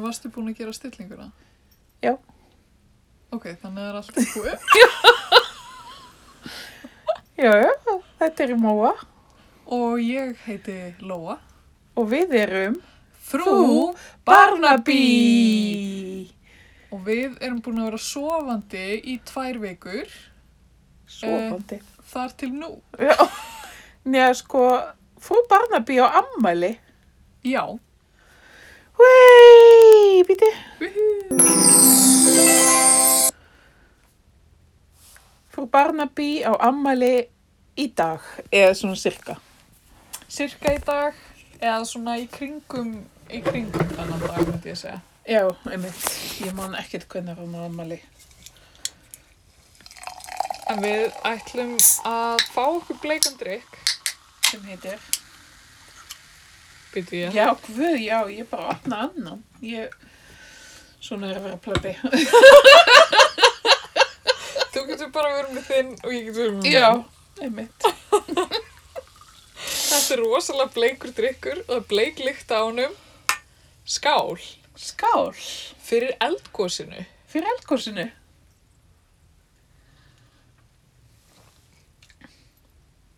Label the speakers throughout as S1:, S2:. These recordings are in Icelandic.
S1: varstu búin að gera stillinguna?
S2: Já.
S1: Ok, þannig er allt búið.
S2: Já, já, þetta er Móa
S1: Og ég heiti Lóa.
S2: og við erum
S1: Frú
S2: Barnaby.
S1: Og við erum búin að vera sofandi í tvær vikur
S2: Svofandi.
S1: þar til nú.
S2: Já, Nei, sko, frú Barnaby á ammæli.
S1: Já.
S2: Hei, býti. Frú Barnaby á ammæli í dag, eða svona sirka.
S1: Cirka í dag eða svona í kringum, í kringum þannig dag, myndi ég segja.
S2: Já, einmitt. Ég man ekkert hvernig hann á ammæli.
S1: En við ætlum að fá okkur bleikan drikk.
S2: Sem heitir?
S1: Býtu ég.
S2: Já, guð, já, ég bara opna annan. Ég, svona er að vera plöbi.
S1: Þú getur bara verið með þinn og ég getur verið með minn.
S2: Já, einmitt.
S1: Þetta er rosalega bleikur drikkur og það er bleik lykt á honum. Skál.
S2: Skál
S1: Fyrir eldgósinu.
S2: fyrir eldkorsinu.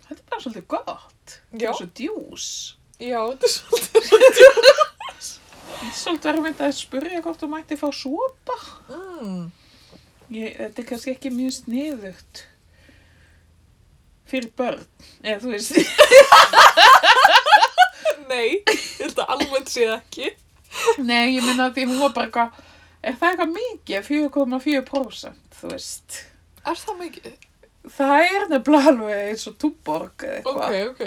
S2: Þetta er bara svolítið gott. Þetta
S1: Já.
S2: er svo djús.
S1: Já, þetta er svolítið.
S2: Svolítið verður myndið að spurja hvort þú mætti fá sopa.
S1: Mm.
S2: Ég, þetta er kannski ekki mjög sniðugt fyrir börn, eða þú veist.
S1: Nei, ég held að almennt sé það ekki.
S2: Nei, ég minna að því hún var bara eitthvað, er það eitthvað mikið, 4,4%, þú veist.
S1: Er það mikið?
S2: Það er nefnilega alveg eins og túborg eða eitthvað.
S1: Ok, ok.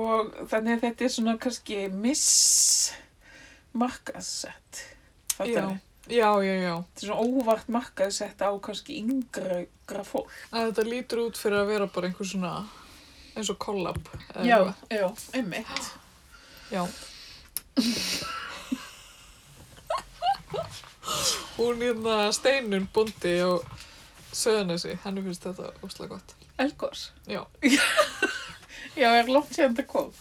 S2: Og þannig að þetta er svona kannski mismarkaðsett.
S1: Já.
S2: Þetta
S1: Já, já, já.
S2: er svona óvart markaðsett á kannski yngra yngra fólk.
S1: Að þetta lítur út fyrir að vera bara einhver svona, eins og kollab. Eh,
S2: já, einmitt.
S1: Já. Hún hérna steinun bóndi á Söðanessi, henni finnst þetta óslega gott.
S2: Elgors.
S1: Já.
S2: Já, er langt sér þetta kom.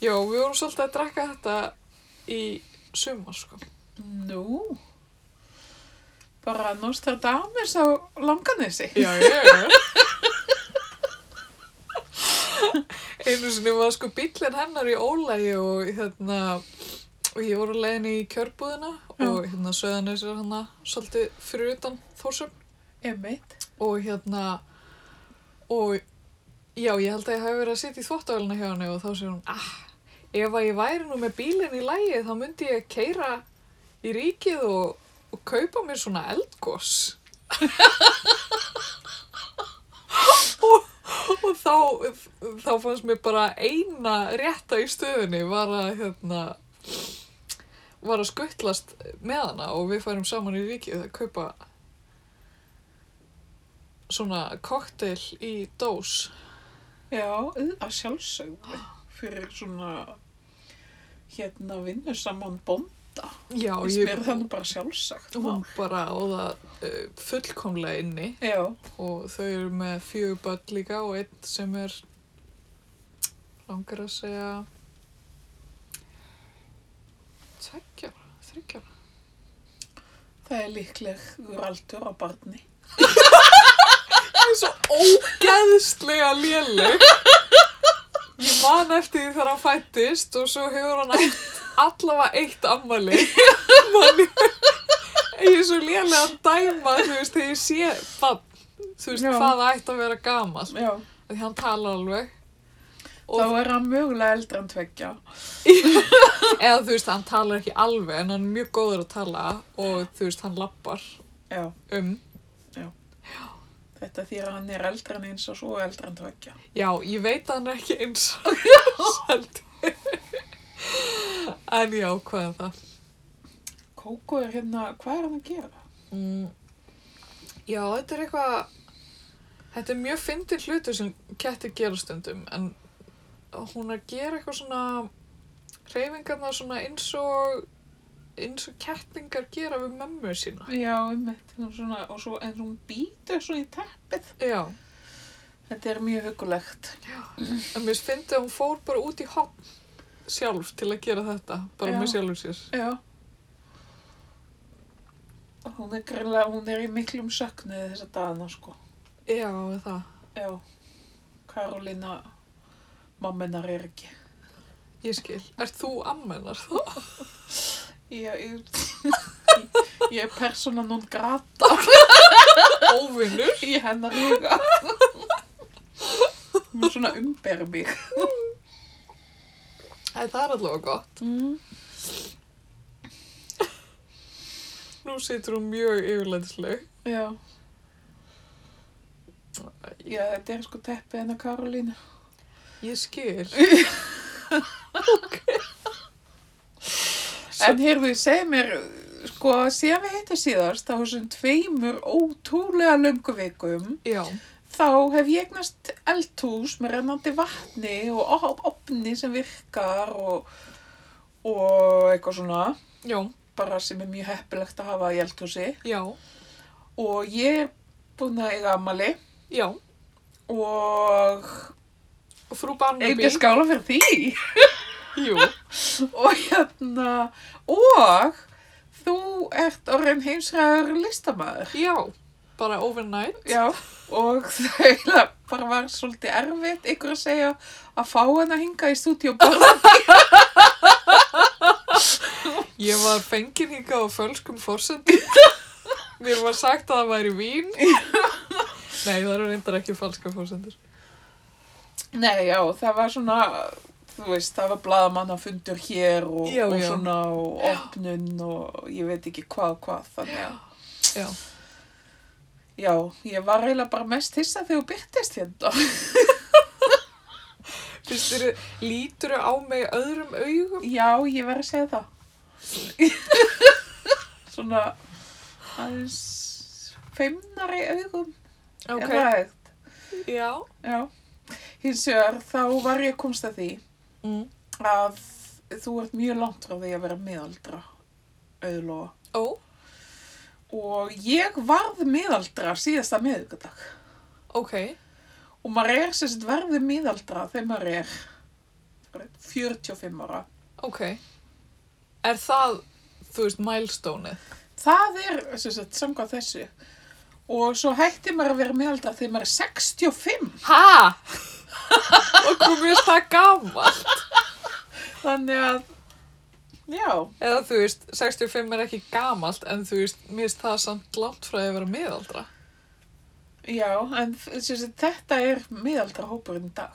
S1: Já, við vorum svolítið að drekka þetta í sumar, sko.
S2: Nú. Bara Nostradamus á langanessi.
S1: Já, já, já. Einu sinni var sko bíllinn hennar í ólægi og hérna, og ég voru leiðin í kjörbúðina og hérna Söðanessi er hann svolítið fyrir utan Þórsum.
S2: Einmitt.
S1: og hérna og já, ég held að ég hafi verið að sitja í þvóttavæluna hjá henni og þá segir hún ah, ef að ég væri nú með bílinn í lægi þá myndi ég keira í ríkið og, og kaupa mér svona eldgós og, og þá þá fannst mér bara eina rétta í stöðunni var að hérna var að skuttlast með hana og við færum saman í ríkið að kaupa svona koktel í dós
S2: Já, auð- að sjálfsögðu. Fyrir svona, hérna, vinnu saman bónd.
S1: Já,
S2: Ég spyr það nú bara sjálfsagt.
S1: hún bara á það uh, fullkomlega inni
S2: Já.
S1: og þau eru með fjögur börn líka og einn sem er langar að segja tveggjara, þryggjara
S2: Það er líklegur aldur á barni.
S1: Það er svo ógeðslega léleg Ég man eftir því þegar hann fættist og svo hefur hann átt allavega eitt ammali Man ég ég er svo léleg að dæma þú veist þegar ég sé bann þú veist
S2: Já.
S1: hvað það ætti að vera gamall
S2: Já.
S1: því hann tala alveg
S2: Þá
S1: og,
S2: er hann mögulega eldri en tveggja.
S1: eða þú veist hann talar ekki alveg en hann er mjög góður að tala og þú veist hann lappar
S2: Já.
S1: um
S2: Þetta því að hann er eldri en eins og svo eldri en tveggja.
S1: Já, ég veit að hann er ekki eins Sjald En já, hvað er það?
S2: Kókó er hérna, hvað er hann að gera?
S1: Mm. Já, þetta er eitthvað Þetta er mjög fyndið hlutur sem kettir gera stundum en hún er að gera eitthvað svona reyfingarna svona eins og eins og kettingar gera við mömmu sína
S2: Já, einmitt. Hún Svona, og svo, en hún býtur svo í teppið.
S1: Já,
S2: Þetta er mjög hugulegt.
S1: en mér finnst að hún fór bara út í hopn sjálf til að gera þetta bara
S2: Já.
S1: með sjálfur sér
S2: Já. hún er greinlega, hún er í miklum söknuði þessa dagana, sko.
S1: Já, það.
S2: Já, Karolina, mammenar er ekki.
S1: Ég skil. Ert þú ammenar þá?
S2: Ég, ég, ég er persóna non grata
S1: Óvinnur?
S2: í hennar huga. Hún svona umber mig.
S1: Æ, það er allavega gott.
S2: Mm.
S1: Nú situr hún mjög yfirleinsleg.
S2: Já, já, þetta er sko teppið hennar Karolina.
S1: Ég skil.
S2: En heyrðu, segi mér, sko, síðan við heitum síðast, á þessum tveimur ótrúlega löngu vikum,
S1: Já.
S2: þá hef ég eignast eldhús með rennandi vatni og op- opni sem virkar og, og eitthvað svona,
S1: Já.
S2: bara sem er mjög heppilegt að hafa í eldhúsi.
S1: Já.
S2: Og ég er búin að eiga amali
S1: Já.
S2: og
S1: Frú
S2: eigum
S1: Barnaby.
S2: ég að skála fyrir því.
S1: Jú.
S2: og hérna, og þú ert orðin heimsræður listamaður.
S1: Já. Bara overnight.
S2: Já, og það eiginlega bara var svolítið erfitt ykkur að segja að fá henn að hinga í stúdíu og borða.
S1: Ég var fengin hingað á fölskum forsendum. Mér var sagt að það væri vín. Nei, það eru reyndar ekki falska forsendur.
S2: Nei, já, það var svona, þú veist, það var bladamannafundur hér og,
S1: Já,
S2: og
S1: já.
S2: svona og opnun og ég veit ekki hvað og hvað þannig að.
S1: Já.
S2: Já, ég var eiginlega bara mest hissa þegar þú byrtist hérna.
S1: Fyrst eru, lítur á mig öðrum augum?
S2: Já, ég verð að segja það. svona, aðeins feimnari augum.
S1: Ok.
S2: Er það hægt?
S1: Já.
S2: Já, hins vegar þá var ég komst að því
S1: Mm.
S2: að þú ert mjög langt frá því að vera miðaldra, auðlóa.
S1: Ó,
S2: Og ég varð miðaldra síðasta miðugardag.
S1: ok.
S2: Og maður er sem sagt verði miðaldra þegar maður er 45 ára.
S1: Ok. Er það, þú veist, milestone-ið?
S2: Það er sem sagt samkvæð þessu. Og svo hætti maður að vera miðaldra þegar maður er 65.
S1: Ha? Og komið er það gaman?
S2: Þannig að, já,
S1: Eða þú veist, 65 er ekki gamalt en þú veist, mér finnst það samt langt frá því að vera miðaldra.
S2: já, en sem sagt, þetta er miðaldra hópurinn í dag.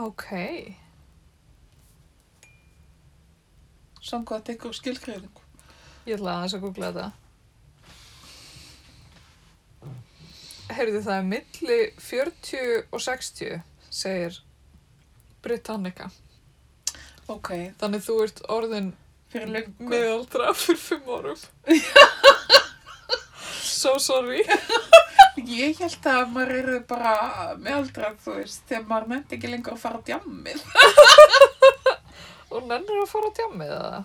S1: Ok.
S2: Samkvæð ykkur skilgreiningu.
S1: Ég ætla aðeins að googla þetta. Heyrðu, það er milli 40 og 60, segir Britannica.
S2: Ok,
S1: Þannig þú ert orðin
S2: fyrir löngu.
S1: miðaldra fyrir fimm árum. so sorry.
S2: Ég held að maður eru bara meðaldra, þú veist, þegar maður nefndi ekki lengur að fara á djammið.
S1: Og nennir að fara á djammið eða?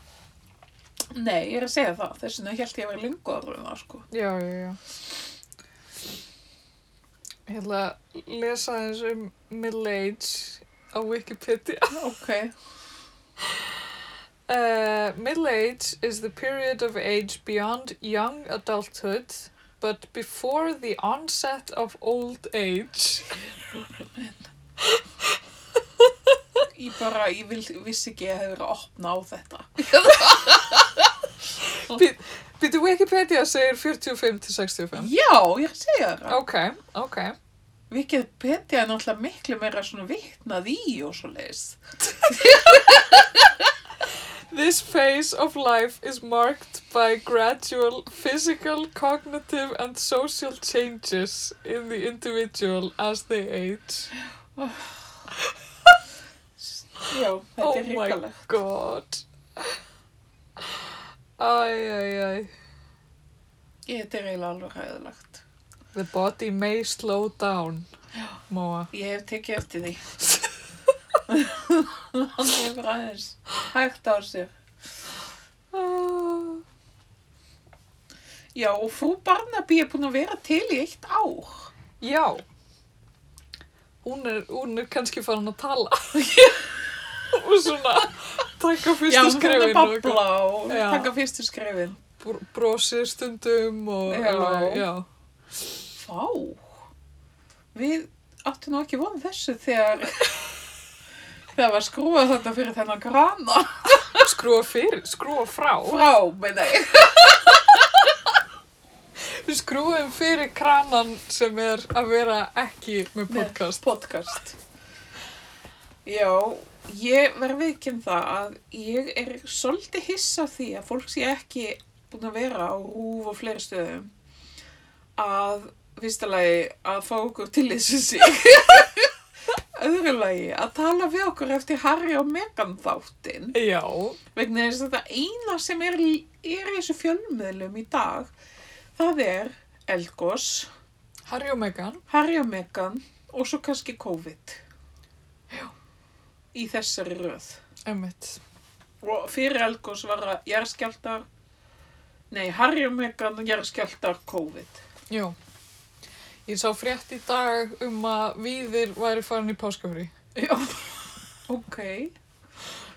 S2: Nei, ég er að segja það, þess vegna held ég að vera lengur orðin það, sko.
S1: Já, já, já. Ég ætla að lesa aðeins um middle age á Wikipedia.
S2: Ok,
S1: Uh, middle age is the period of age beyond young adulthood, but before the onset of old age.
S2: ég bara, ég vil, vissi ekki að ég hef verið að opna á þetta.
S1: Býtu Wikipedia segir 45 til 65.
S2: Já, ég er að segja það.
S1: Ok, ok.
S2: Wikipedia er náttúrulega miklu meira svona vitnað í og svo leiðis.
S1: This phase of life is marked by gradual physical, cognitive, and social changes in the individual as they age.
S2: Já, þetta
S1: Oh
S2: er
S1: my
S2: ríkalegt.
S1: God. Æ, æ, æ.
S2: Þetta er eiginlega alveg hæðilegt.
S1: The body may slow down, Móa.
S2: Ég hef tekið eftir því. Hann hefur aðeins hægt á sér.
S1: Ah,
S2: Já, og frú Barnaby er búin að vera til í eitt ár.
S1: Já. Hún er, hún er kannski farin að tala. og svona, taka fyrstu
S2: hún er
S1: skrefin.
S2: að babla og
S1: Já.
S2: taka fyrstu skrefin.
S1: br- brosir stundum og
S2: Já.
S1: alveg, já.
S2: Vá, við áttum nú ekki von þessu þegar það var skrúað þetta fyrir þennan grana
S1: Skrúa fyrir, skrúa frá.
S2: frá, meina ég.
S1: Við skrúum fyrir kranan sem er að vera ekki með
S2: Með
S1: podcast.
S2: podcast. Já, ég verð viðkjum það að ég er svolítið hissa á því að fólk sé ekki búin að vera á rúf og fleiri stöðum að fyrsta lagi að fá okkur til þessu sig. Öðru lagi að tala við okkur eftir Harry og Meghan þáttinn
S1: Já,
S2: vegna þess að þetta eina sem er, í- er í þessu fjölmiðlum í dag það er Elgos,
S1: Harry og Meghan.
S2: Harry og Meghan og svo kannski COVID í þessari röð
S1: Emmitt.
S2: og fyrir Elgos var að jarðskjaldar nei, Harry og Meghan jarðskjaldar COVID
S1: Já. Ég sá frétt í dag um að víðir væri farin í páskafri.
S2: Já Ok,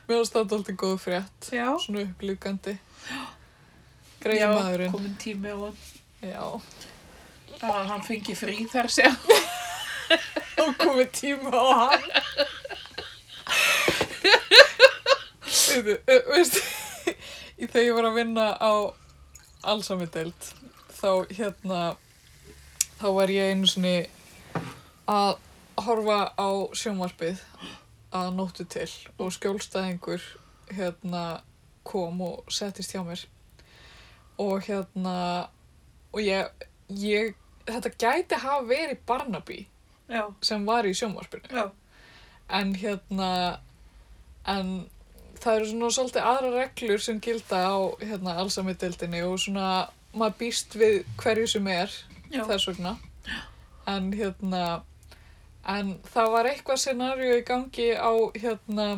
S1: Mér varst þetta alltaf góð frétt.
S2: já
S1: Svona upplýkandi.
S2: Já,
S1: Greið maðurinn.
S2: komin tími og
S1: Já.
S2: að hann fengi frí þar sem
S1: Þá komið tíma á hann. Veitu, eh, Veistu, í þegar ég var að vinna á allsamindeld, þá hérna, þá var ég einu sinni að horfa á sjónvarpið að nóttu til og skjólstæðingur hérna kom og settist hjá mér og hérna og ég, ég þetta gæti hafa verið Barnaby
S2: Já,
S1: sem var í sjónvarpinu
S2: já,
S1: en hérna en það eru svona svolítið aðra reglur sem gilda á hérna allsammiðdeldinni og svona maður býst við hverju sem er
S2: já
S1: þess vegna en hérna en það var eitthvað scenarió í gangi á hérna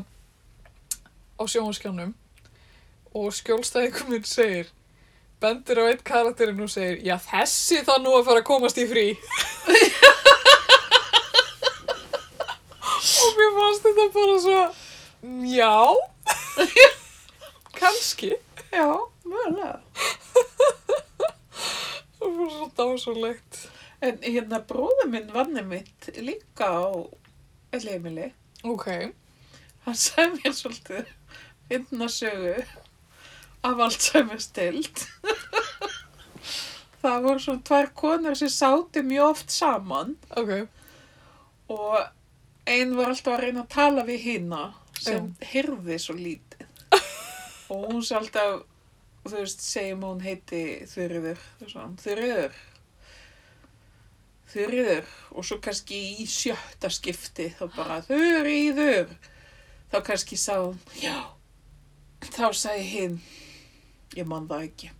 S1: á sjónvarskjánum og skjólstæðingum minn segir bendir á eitt karakterinn og segir já þessi það nú að fara að komast í frí og mér fannst þetta bara svo já kannski
S2: Já, mjögulega
S1: það var svo dásulegt
S2: En hérna bróður minn vanni mitt líka á leimili.
S1: ok,
S2: Hann sagði mér svolítið finna sögu af Alzheimer stild. Það voru svona tvær konur sem sátu mjög oft saman
S1: ok
S2: og einn var alltaf að reyna að tala við hina sem heyrði svo lítið. Og hún sé alltaf, þú veist, segjum að hún heiti Þurriður, þú veist, hann, Þurriður, Þurriður, og svo kannski í sjötta skipti þá bara Þurriður, þá kannski sá hún, já, þá sagði hinn, ég man það ekki.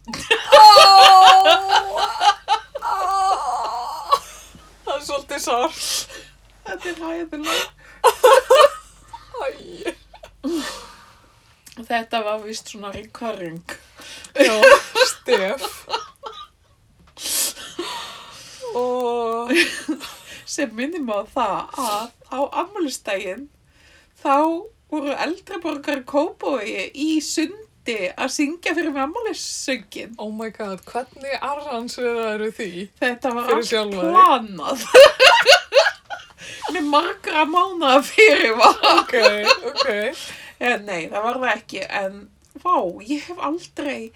S1: Það er svolítið sár.
S2: Þetta er hæðilega.
S1: Æ.
S2: Þetta var vist svona recurring.
S1: Já, stef. Og
S2: sem minnum á það að á ammálistægin þá voru eldri borgar kópói í sundi að syngja fyrir með ammálissöngin.
S1: oh my god, hvernig arrans er það eru því?
S2: Þetta var
S1: Fyrir
S2: allt
S1: sjálfa þig.
S2: planað. með margra mánaða fyrir var.
S1: Ok, ok.
S2: Eh, Nei, það var það ekki, en vá, ég hef aldrei,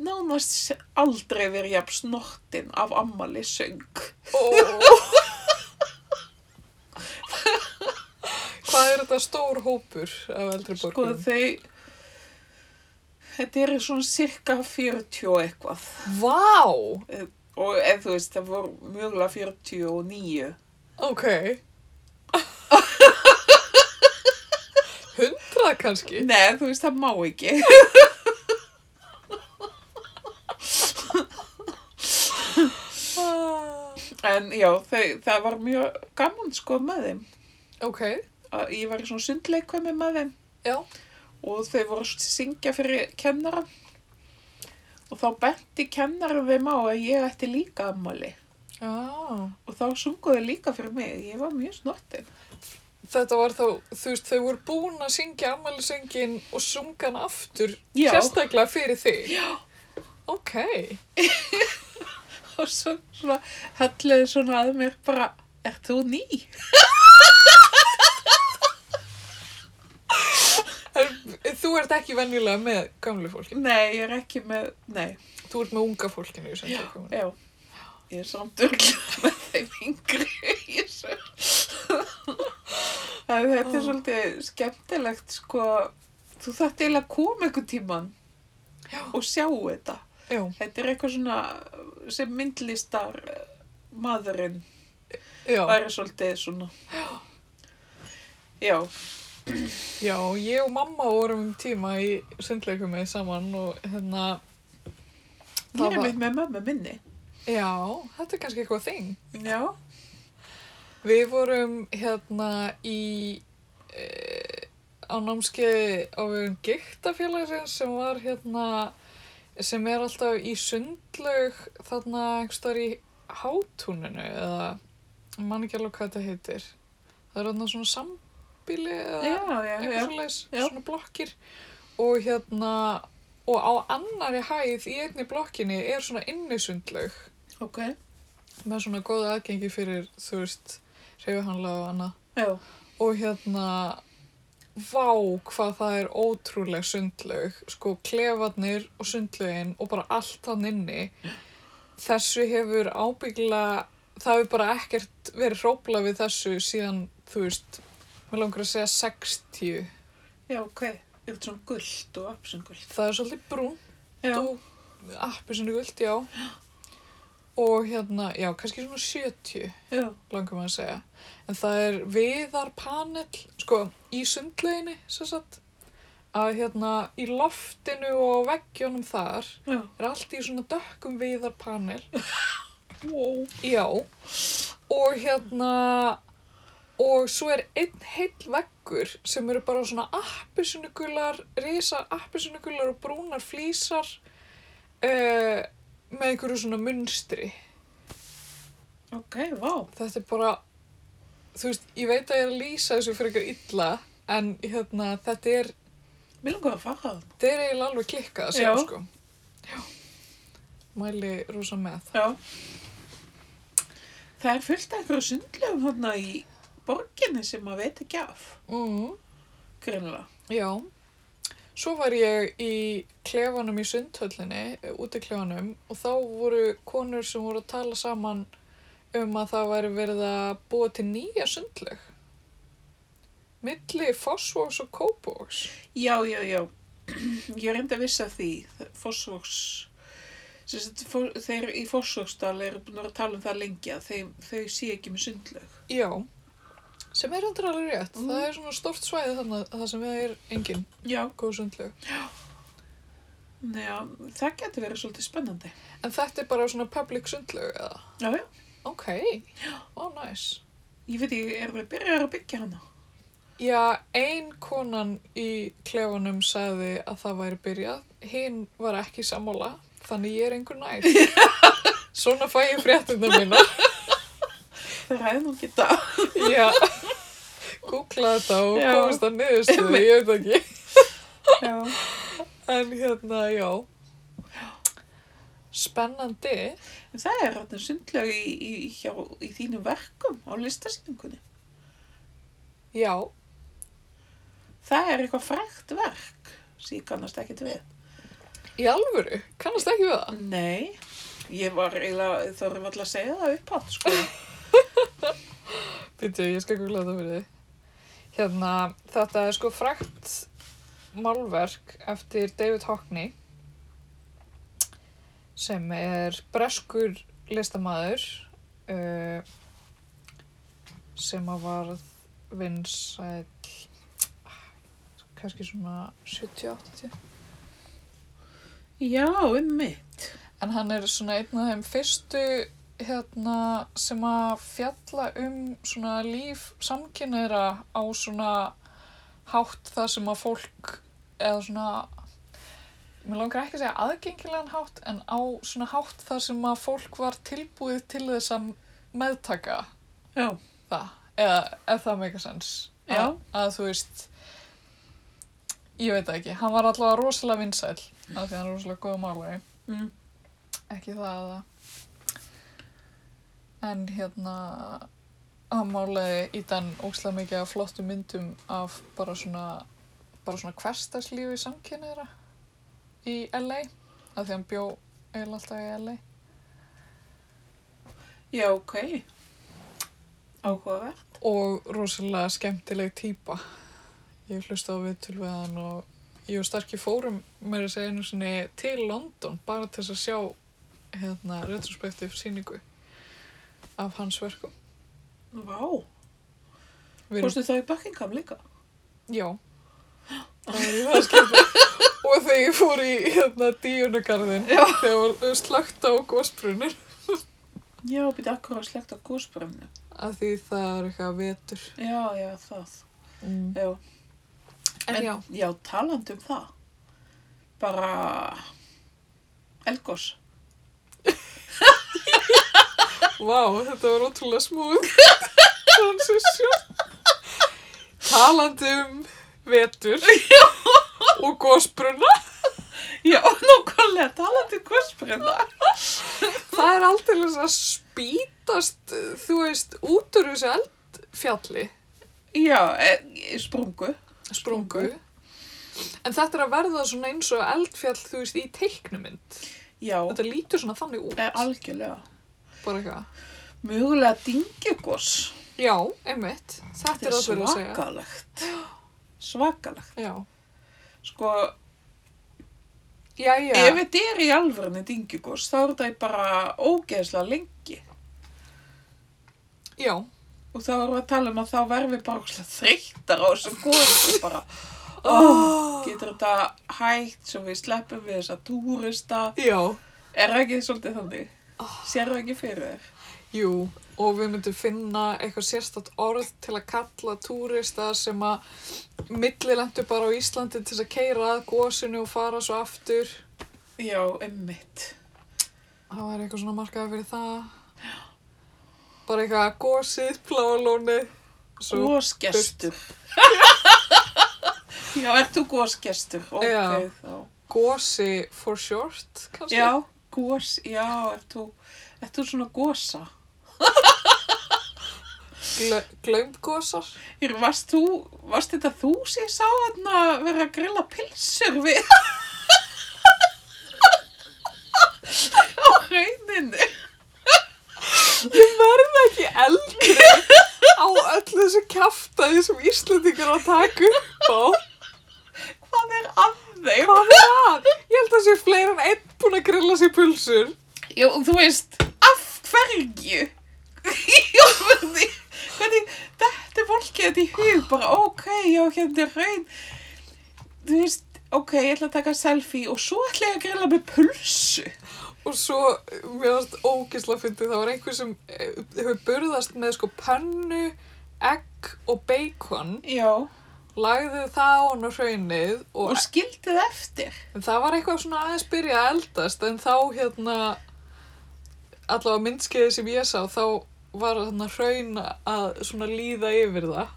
S2: nánast aldrei verið jafn snortin af ammálissöng.
S1: Oh. Hvað er þetta stór hópur af eldri
S2: Sko
S1: borgurum?
S2: þau, þetta eru svona cirka 40 og eitthvað
S1: Vá!
S2: og ef þú veist það voru mjögulega 49.
S1: Ok. Hundrað kannski?
S2: Nei en þú veist það má ekki.
S1: Ah.
S2: En já þau, það var mjög gaman sko með þeim.
S1: Ok,
S2: Að Ég var í svona sundleikvæmi með þeim
S1: já.
S2: og þau voru að syngja fyrir kennara og þá benti kennarum þeim á að ég ætti líka ammali
S1: Já.
S2: og þá sunguðu líka fyrir mig. Ég var mjög snortin.
S1: Þetta var þá, þú veist, þau voru búin að syngja ammælisöngin og sunga hann aftur
S2: Já.
S1: sérstaklega fyrir þig. Já. Ok.
S2: og svo svona helliði svona að mér bara, er þú ný?
S1: En Þú ert ekki venjulega með gamlu fólki.
S2: Nei, ég er ekki með, nei,
S1: Þú ert með unga fólkinu í samtökunum.
S2: já, ég er samt örgulega með þeim yngri í þessu. Það þetta er
S1: Ó.
S2: svolítið skemmtilegt, sko, þú þarft eiginlega að koma einhvern tíman
S1: Já.
S2: og sjá þetta.
S1: Já,
S2: Þetta er eitthvað svona sem myndlistar eh, maðurinn
S1: já,
S2: væri svolítið svona. Já,
S1: já, ég og mamma vorum um tíma í sundleikum með saman og hérna,
S2: ég
S1: Það
S2: er
S1: var-
S2: mitt með mömmu minni.
S1: já, þetta er kannski eitthvað þing.
S2: Já.
S1: Við vorum hérna í e, á námskeiði á vegum giktafélagsins sem var hérna sem er alltaf í sundlaug þarna einhverstaðar í hátúninu eða ég man ekki alveg hvað þetta heitir það er þarna svona sambíli eða
S2: Já, já, já.
S1: eitthvað svoleiðis,
S2: Já.
S1: svona blokkir og hérna og á annari hæð í einni blokkinni er svona innisundlaug
S2: Ok,
S1: með svona góða aðgengi fyrir, þú veist, reyfuhandla og annað.
S2: já,
S1: Og hérna, vá hvað það er ótrúleg sundlaug, sko, klefarnir og sundlaugin og bara allt þann inni. Þessu hefur ábyggilega, það hefur bara ekkert verið hrópla við þessu síðan, þú veist, mér langar að segja 60.
S2: já, ok. Eitthvað svona gullt og apsengullt.
S1: Það er svolítið brún
S2: Já,
S1: og appi sinni guld, já. Og hérna, já, kannski svona 70.
S2: já,
S1: langar maður að segja. En það er viðarpanel, sko, í sundleginni, sem sagt, að hérna í loftinu og á veggjónum þar
S2: já.
S1: er allt í svona dökkum viðarpanel.
S2: Wow.
S1: Já, og hérna, og svo er einn heill veggur sem eru bara svona appisunugular, risa appisunugular og brúnar flísar uh, með einhverju svona munstri.
S2: Ok, vá.
S1: þetta er bara þú veist, ég veit að ég er að lýsa þessu fyrir eitthvað illa en hérna, þetta er
S2: Mér langar að fara það.
S1: þetta er eiginlega alveg klikkað að sjá
S2: Já.
S1: sko já. mæli rosa með
S2: Já. Það er fullt af einhverju sundlegum þarna í borginni sem maður veit ekki af,
S1: mm,
S2: greinilega.
S1: já svo var ég í klefanum í sundhöllinni eh, út í klefanum og þá voru konur sem voru að tala saman um að það væri verið að búa til nýja sundlög milli Fossvogs og Kópavogs
S2: Já, já, já. Ég er reyndi að vissa því. Fossvogs, sem sagt, fó- þeir í Fossvogsdal eru búin að vera að tala um það lengi að þeim, þau sé ekki með sundleg.
S1: Já, sem er heldur alveg rétt.
S2: Mm.
S1: Það er svona stórt svæði þannig að það sem það er engin
S2: Já.
S1: góð sundlög.
S2: Já, það getur verið svolítið spennandi.
S1: En þetta er bara svona public sundlög eða?
S2: Já, já.
S1: Ok, ó næs.
S2: Ég veit ekki, erum við byrjar að byggja hana?
S1: Já, ein konan í klefanum sagði að það væri byrjað, hinn var ekki sammála, þannig ég er einhver nær. Svona fæ ég fréttina mína.
S2: Það ræði nú geta.
S1: Já, googla þetta og
S2: Já.
S1: komist að niðurstöðu, ég veit ekki.
S2: Já.
S1: En hérna, já. Spennandi.
S2: En það er hérna sundlega í, í, í, hjá, í þínum verkum á listasýningunni.
S1: Já,
S2: Það er eitthvað frægt verk sem ég kannast ekkit við.
S1: Í alvöru? Kannast ekki við það?
S2: Nei, ég var eiginlega, þá erum alltaf að segja það upp átt, sko.
S1: Býtu, ég skal googla þetta fyrir þig. Hérna, þetta er sko frækt málverk eftir David Hockney sem er breskur listamaður uh, sem að varð vinsæl kannski svona 70-80
S2: Já, um mitt.
S1: En hann er svona einn af þeim fyrstu hérna, sem að fjalla um svona líf samkynneira á svona hátt það sem að fólk eða svona mér langar ekki að segja aðgengilegan hátt en á svona hátt það sem að fólk var tilbúið til þess að meðtaka
S2: Já,
S1: það eða ef það meika sens
S2: Já.
S1: að, að þú veist ég veit það ekki, hann var allavega rosalega vinsæl af því að hann er rosalega góða málari Mm. Ekki það að það. En hérna, hann málaði í þann óslega mikið af flottum myndum af bara svona, bara svona hverstaslífi samkynniðra í LA. Af því hann bjó eiginlega alltaf í LA.
S2: Já, ok. Áhugaverð.
S1: Og rosalega skemmtileg týpa. Ég hlusta á viðtöl við hann og ég og Starki fórum meira að segja einu sinni til London bara til þess að sjá hérna retrospektiv sýningu af hans verkum.
S2: Vá.
S1: Við erum-
S2: Fórstu þá í Buckingham líka?
S1: Já. Það var í verðskipið. og þegar ég fór í hérna díunugarðin
S2: Já.
S1: þegar var slögt á gósbrunin.
S2: Já, býtti akkur að slekta gósbrunni.
S1: Af því það er eitthvað vetur.
S2: Já, já, það.
S1: Mm.
S2: Já.
S1: En, já.
S2: Já, talandi um það. Bara... Elgós.
S1: Vá, þetta var ótrúlega smúð. Transition. Talandi um vetur og gósbrunna.
S2: Já, nákvæmlega talandi um gósbrunna.
S1: Það er aldrei að spýtast, þú veist, út úr þessu eldfjalli.
S2: Já, e, sprungu.
S1: sprungu. En þetta er að verða svona eins og eldfjall, þú veist, í teiknumynd.
S2: Já,
S1: Þetta lítur svona þannig út,
S2: e, algjörlega.
S1: bara eitthvað.
S2: Mögulega dingjugos.
S1: Já, einmitt. Þetta er það fyrir að segja.
S2: svakalegt. Svakalegt.
S1: Já.
S2: Sko,
S1: Jæja,
S2: ef þetta er í alvörinu dingjugos, þá er þetta í bara ógeðslega lengi.
S1: já,
S2: Og þá erum við að tala um að þá verðum við bara ógeðslega þreyttar á þessu góðsum bara. Ó, getur þetta hægt svo við sleppum við þessa túrista.
S1: já,
S2: Er það ekki svolítið þannig?
S1: Ah.
S2: Sér það ekki fyrir þér?
S1: jú. Og við myndum finna eitthvað sérstætt orð til að kalla túrista sem að millilendu bara á Íslandi til þess að keira að gósinu og fara svo aftur.
S2: Já, emmitt.
S1: Það var eitthvað svona markaði fyrir það. Bara eitthvað gósið, pláalóni.
S2: Gósgestur. Já, ert þú gósgestur? Ok,
S1: Já.
S2: þá.
S1: Gósi for short, kannski?
S2: Já, gós, já, ert þú, ert þú svona gósa?
S1: Gla glaumgósar?
S2: Hér, varst þú, varst þetta þú sem ég sá þarna vera að grilla pilsur við? Á rauninni.
S1: Ég verð ekki eldri á öllu þessu kjaftaði sem Íslendingar á taku á.
S2: Hvað er að þeim?
S1: Hvað er það? Ég held að sé fleira en einn búin að grilla sér pulsur.
S2: Já, og þú veist, af hverju? Já, hvernig, hvernig, þetta er fólkið þetta í hug, bara ok, já, hérna er raun. Þú veist, ok, ég ætla að taka selfie og svo ætla ég að grilla með pulsu.
S1: Og svo, mér varst ógisla fyndið, það var einhver sem eh, hefur burðast með sko pönnu, egg og bacon,
S2: Já, og
S1: lagði það á hann á hraunið og
S2: skildið eftir.
S1: En það var eitthvað svona aðeins byrja að eldast en þá hérna allavega myndskeiði sem ég sá þá var þarna hraun að svona líða yfir það.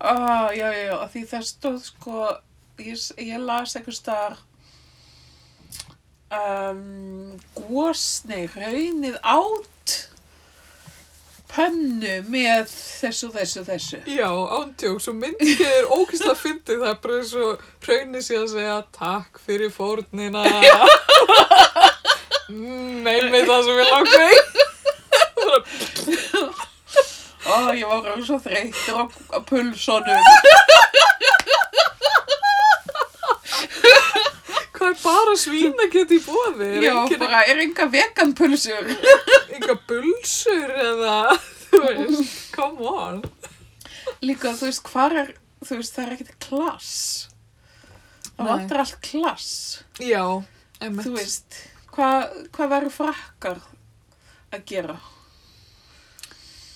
S2: Ó, já, já, já, af því það stóð sko, ég, s- ég las einhver staðar, um, gósni, raunnið átt, pönnu með þessu, þessu, þessu.
S1: Já, ándjóks og myndskeiði er ókvæmst að fyndi það er bara eins og hraunni sé að segja takk fyrir fórnina. Mm, Neymið það sem við langaði.
S2: Ó, ég var alveg svo þreytur á, á pulsonum.
S1: Hvað er bara svína í bóði?
S2: Já, bara er enga vegan pulsur.
S1: Enga bulsur eða, þú veist, come on.
S2: Líka, þú veist, hvar er, þú veist, það er ekkert klass. Það
S1: Nei.
S2: vantar allt klass.
S1: Já, emmitt.
S2: Þú veist, hvað hva verður frakkar að gera?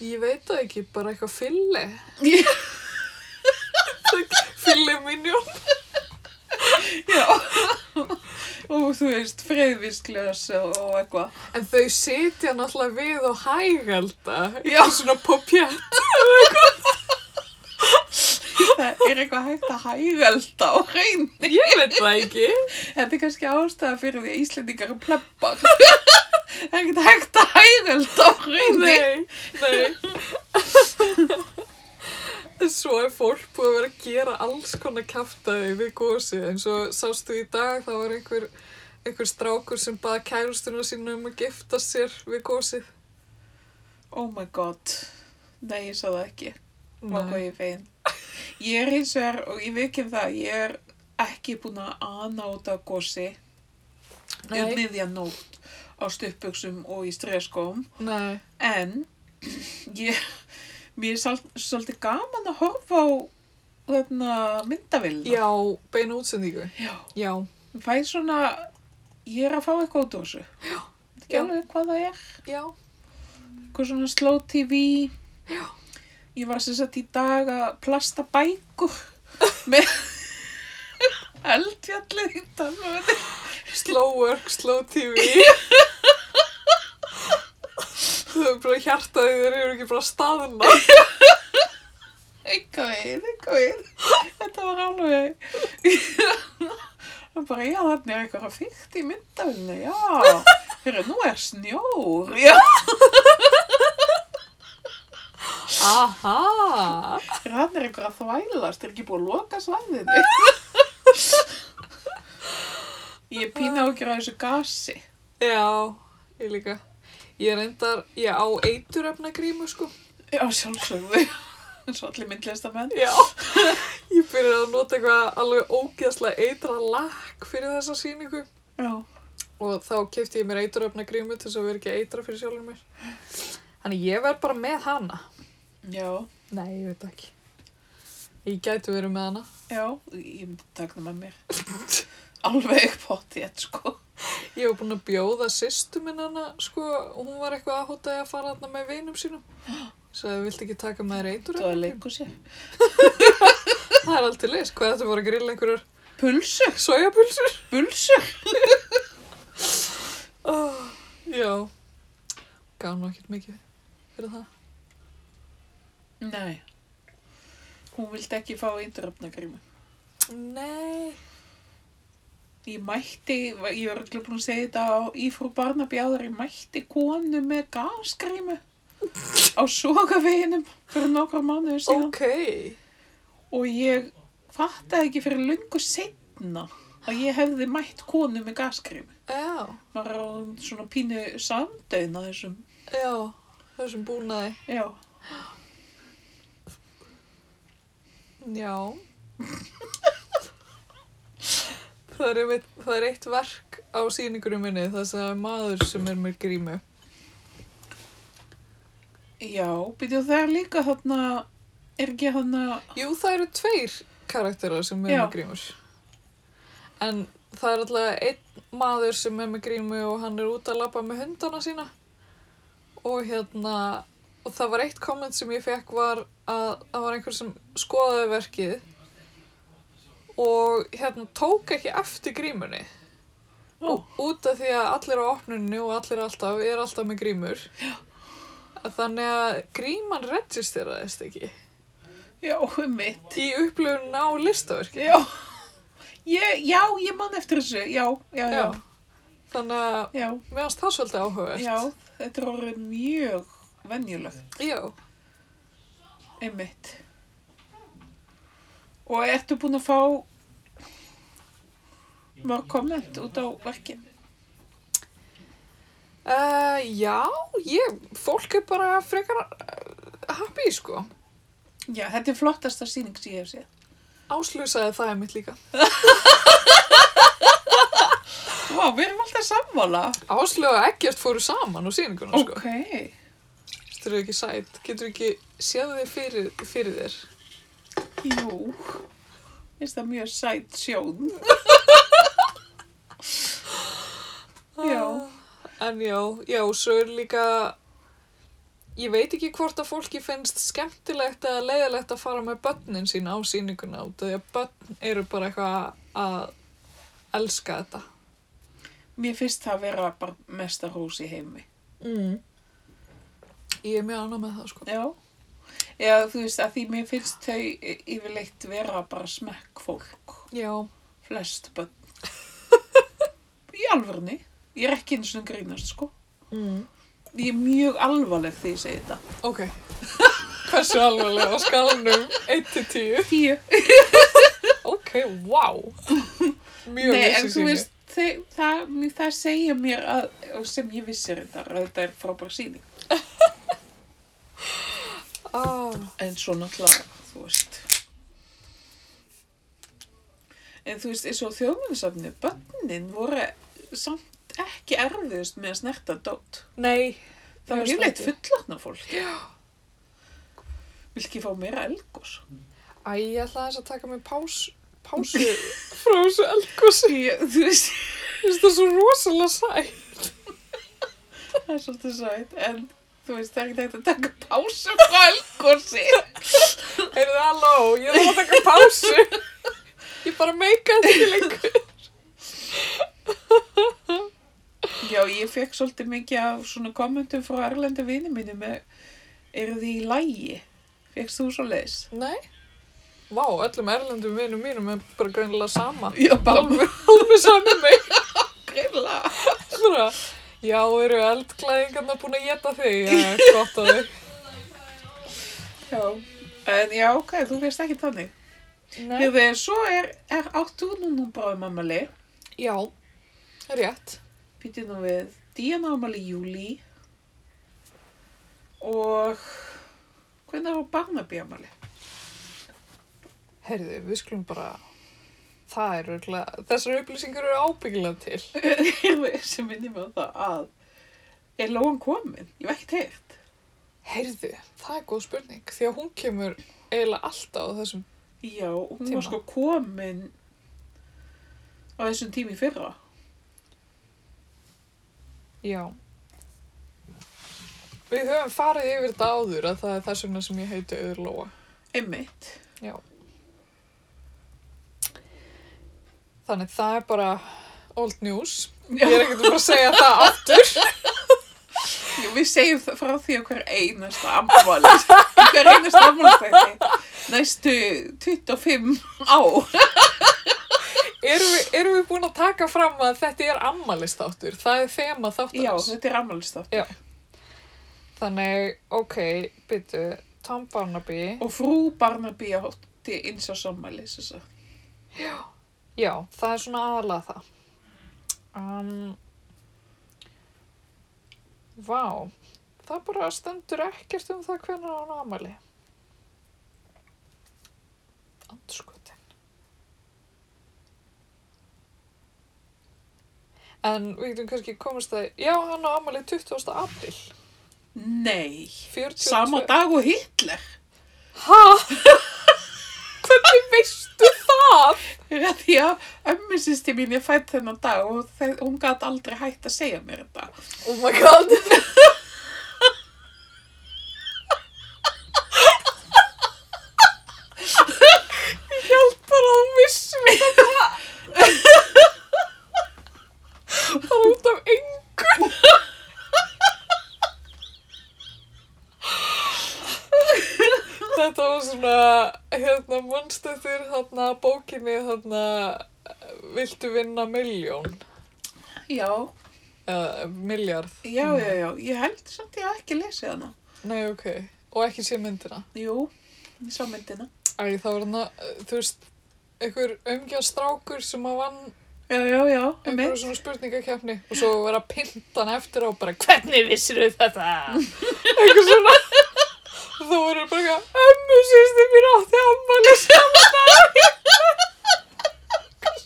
S1: Ég veit það ekki, bara eitthvað fylli.
S2: Já.
S1: fylli minjón.
S2: Og þú veist, freyðvísklöðs og, og eitthvað.
S1: En þau sitja náttúrulega við og hægalda.
S2: Já.
S1: Svona popjett.
S2: Það það er eitthvað hægt að hægvelda á hreinu.
S1: Ég veit það ekki.
S2: Þetta er kannski ástæða fyrir því að Íslendingar eru plebbar. Það er ekkert hægt að hægvelda á hreinu.
S1: Nei, nei. Svo er fólk búið að vera að gera alls konar kæftæði við gósið eins og sástu í dag þá var einhver, einhver strákur sem baða kærustuna sína um að gifta sér við gósið.
S2: Oh my god. Nei, ég sá það ekki. Vá hvað ég er fegin. Ég er eins og er, og ég veit það, ég er ekki búin að aðnáta gósi um
S1: nei,
S2: niðja nótt á stuppbuksum og í streskóm.
S1: nei.
S2: En ég, mér er sal- svolítið gaman að horfa á hérna, þarna myndavillina.
S1: Já, beina útsendingu.
S2: Já.
S1: Já.
S2: Ég fæ svona, ég er að fá eitthvað út úr þessu. Já. Þetta ekki
S1: Já.
S2: alveg hvað það er.
S1: Já.
S2: Eitthvað svona slow TV. Já. Ég var sem sagt í dag að plasta bækur með eldfjallið í Danmörðu.
S1: Slow work, slow TV. Þú hefur bara hjartaði þeir eru ekki bara staðna.
S2: Eitthvað við, eitthvað við. Þetta var alveg... Og bara, já, þannig er eitthvað fyrkt í myndavillinu, já. Hörru, nú er snjór, já.
S1: Aha.
S2: Hörru, hann er eitthvað að þvælast, er ekki búið að loka svæðinu. Ég er pína ágjur á þessu gasi.
S1: Já, ég líka. Ég reyndar, ég á eituröfna grímu sko.
S2: Já, sjálfsögðu. Svo allir myndlistamenn.
S1: Já. Ég byrjaði að nota eitthvað alveg ógeðslega eitra lakk fyrir þessa sýningu.
S2: Já.
S1: Og þá kefti ég mér eituröfna grímu til þess að vera ekki að eitra fyrir sjálfur mér. Þannig ég verð bara með hana.
S2: Já.
S1: Nei, ég veit það ekki. Ég gæti verið með hana.
S2: Já, ég myndi taka það með mér. Alveg pottið, sko.
S1: Ég var búin að bjóða sýstu minn hana, sko, hún var eitthvað að hótaði að fara hana með vinum sínum. Sæði, viltu ekki taka með þér
S2: Þú að
S1: eituröfna grímu?
S2: leikur sér.
S1: Það er alltaf leis, hvað þetta voru að grilla einhverjar
S2: Pulsur,
S1: sojapulsur?
S2: pulsur.
S1: Oh, já, gaf nú ekkert mikið fyrir það.
S2: Nei. Hún vildi ekki fá índröfnagrímu.
S1: Nei.
S2: Ég mætti, ég var ekki búin að segja þetta á Ífrú Barnaby áður, ég mætti konu með gasgrímu á sogaveginum fyrir nokkra mánuður síðan.
S1: Ok.
S2: Og ég fattaði ekki fyrir lungu setna að ég hefði mætt konu með gasgrímu.
S1: Já,
S2: Maður á svona pínu samdöðin að þessum.
S1: já, þessum búnaði.
S2: Já.
S1: Já. það, er einmitt, það er eitt verk á sýningunum minni, þess að maður sem er með grímu.
S2: Já, byrjuð það er líka þarna, er ekki þarna,
S1: Jú, það eru tveir karakterar sem er
S2: Já.
S1: með grímur. En það er alltaf einn maður sem er með grímu og hann er út að labba með hundana sína. Og hérna, og það var eitt komment sem ég fekk var að það var einhver sem skoðaði verkið og hérna tók ekki eftir grímunni.
S2: ó,
S1: Út af því að allir á opnunni og allir alltaf er alltaf með grímur. Já. Þannig að gríman registeraðist ekki
S2: já, um mitt.
S1: í upplöfun á listaverki.
S2: Já. Ég, já, ég man eftir þessu, já, já, já,
S1: Já. Þannig að
S2: já,
S1: mér finnst það svolítið áhugavert.
S2: já, þetta er orðið mjög venjulegt,
S1: Já.
S2: einmitt. Og ertu búin að fá mörg komment út á verkið?
S1: Uh, já, ég, fólk er bara frekar uh, happy, sko.
S2: Já, þetta er flottasta sýning sem ég hef séð.
S1: Áslösaði það er mitt líka.
S2: Vá, við erum alltaf sammála.
S1: Áslög og Eggert fóru saman á sýninguna, sko.
S2: Ok,
S1: Þetta eru ekki sætt. Getur ekki séð þig fyrir, fyrir þér.
S2: jú, finnst það mjög sætt sjón. Já.
S1: Ah, En já, já, svo er líka, ég veit ekki hvort að fólki finnst skemmtilegt eða leiðilegt að fara með börnin sín á sýninguna út af því að börn eru bara eitthvað að elska þetta.
S2: Mér finnst það vera bara mesta rós í heimi.
S1: Mm. Ég er mjög annað með það, sko.
S2: Já. eða þú veist að því mér finnst þau yfirleitt vera bara smekk fólk
S1: Já.
S2: flest bönn í alvörni ég er ekki eins og grínast sko
S1: Mm.
S2: ég er mjög alvarleg þegar ég segi þetta
S1: Ok. Hversu alvarlega á skalanum 1-10?
S2: tíu
S1: Ok, wow. Mjög
S2: Nei, en
S1: vissi
S2: þú
S1: sínu.
S2: veist, þau, það, það segja mér að, og sem ég vissi þetta, að þetta er frábær síning.
S1: Ah,
S2: En svo náttúrulega, þú veist. En þú veist, eins og þjóðmyndsafni, bönnin voru samt ekki erfiðust með að snerta dót.
S1: nei.
S2: Það var
S1: finnst
S2: yfirleitt
S1: ekki.
S2: fullatna fólk. Já. Vil ekki fá meira elgos?
S1: Æ, ég ætla þess að taka mig pás, pásu frá þessu eldgósi.
S2: Ég, þú veist,
S1: Þú veist það er svo rosalega sæ.
S2: það er svolítið sætt, en þú veist, það er ekki hægt að taka pásu frá elgosi.
S1: Heyrðu, halló, ég þarf að taka pásu. Ég bara meika þetta ekki lengur.
S2: Já, ég fekk svolítið mikið af svona kommentum frá erlenda vini mínu með eru þið í lægi? Fekkst þú svo leis?
S1: Nei. Vá, öllum erlendum vinum mínum er bara greinilega sama.
S2: Já, bara
S1: Alveg, alveg sama mig.
S2: grilla.
S1: Svona, já, eru eldklæðingarna búin að geta þig? Já, gott að þig.
S2: Já. En já, ok, þú veist ekki þannig.
S1: Nei.
S2: Hefði, svo er, er áttu núna bara um mammali,
S1: Já, rétt.
S2: býttu nú við Díana mammali júli og hvernig var Barnaby ammali?
S1: Heyrðu, við skulum bara... Það er örgulega... Þessar upplýsingar eru ábyggilega til.
S2: Hefði, sem minnir mig á það að er lóan komin? Ég var ekki teirt.
S1: Heyrðu, það er góð spurning því að hún kemur eiginlega alltaf á þessum
S2: Já, hún
S1: Tíma.
S2: var sko komin á þessum tími í fyrra.
S1: Já Við höfum farið yfir þetta áður að það er þess vegna sem ég heiti Öðurlóa
S2: Einmitt.
S1: Þannig það er bara old news
S2: Já,
S1: Ég er ekkert að fara að segja það aftur
S2: við segjum það frá því á hver einasta ammalist, hver einasta ammalistætti, næstu 25 ár.
S1: Erum við, erum við búin að taka fram að þetta er ammælistáttur Það er þema
S2: Já,
S1: þáttarins
S2: þetta er ammalistætti.
S1: Þannig, ok, byttu Tom Barnaby
S2: Og frú Barnaby átti eins á sammæli, þess að.
S1: Já, það er svona aðalega það. Um, vá, það bara stendur ekkert um það hvernig hann ámæli. Andskotin. En við getum kannski komast að, já, hann á ámæli 20. april.
S2: Nei,
S1: 42.
S2: sama dag og Hitler.
S1: Hæ? hvernig veistu það?
S2: Þegar að því að ömmusisti mín er fætt þennan dag og þe- hún gæti aldrei hægt að segja mér þetta.
S1: Oh my god.
S2: Hjálpar á missum.
S1: bara út af engu Þetta var svona hérna mannstættir þarna bókinni þarna Viltu vinna milljón
S2: Já,
S1: eða miljard
S2: já, já, já, ég held samt ég hafi ekki lesið hana.
S1: Nei ok og ekki sé myndina
S2: Jú, ég sá myndina.
S1: Æ það var hérna þú veist einhver umgjast strákur sem að vann
S2: Já, já, já,
S1: einhverju
S2: einmitt.
S1: svona spurningakefni og svo vera að pynta hann eftir á bara hvernig vissir þau þetta eitthvað svona þá voru bara eitthvað ömmu sýstu mín átti ammali saman dag." Eitthvað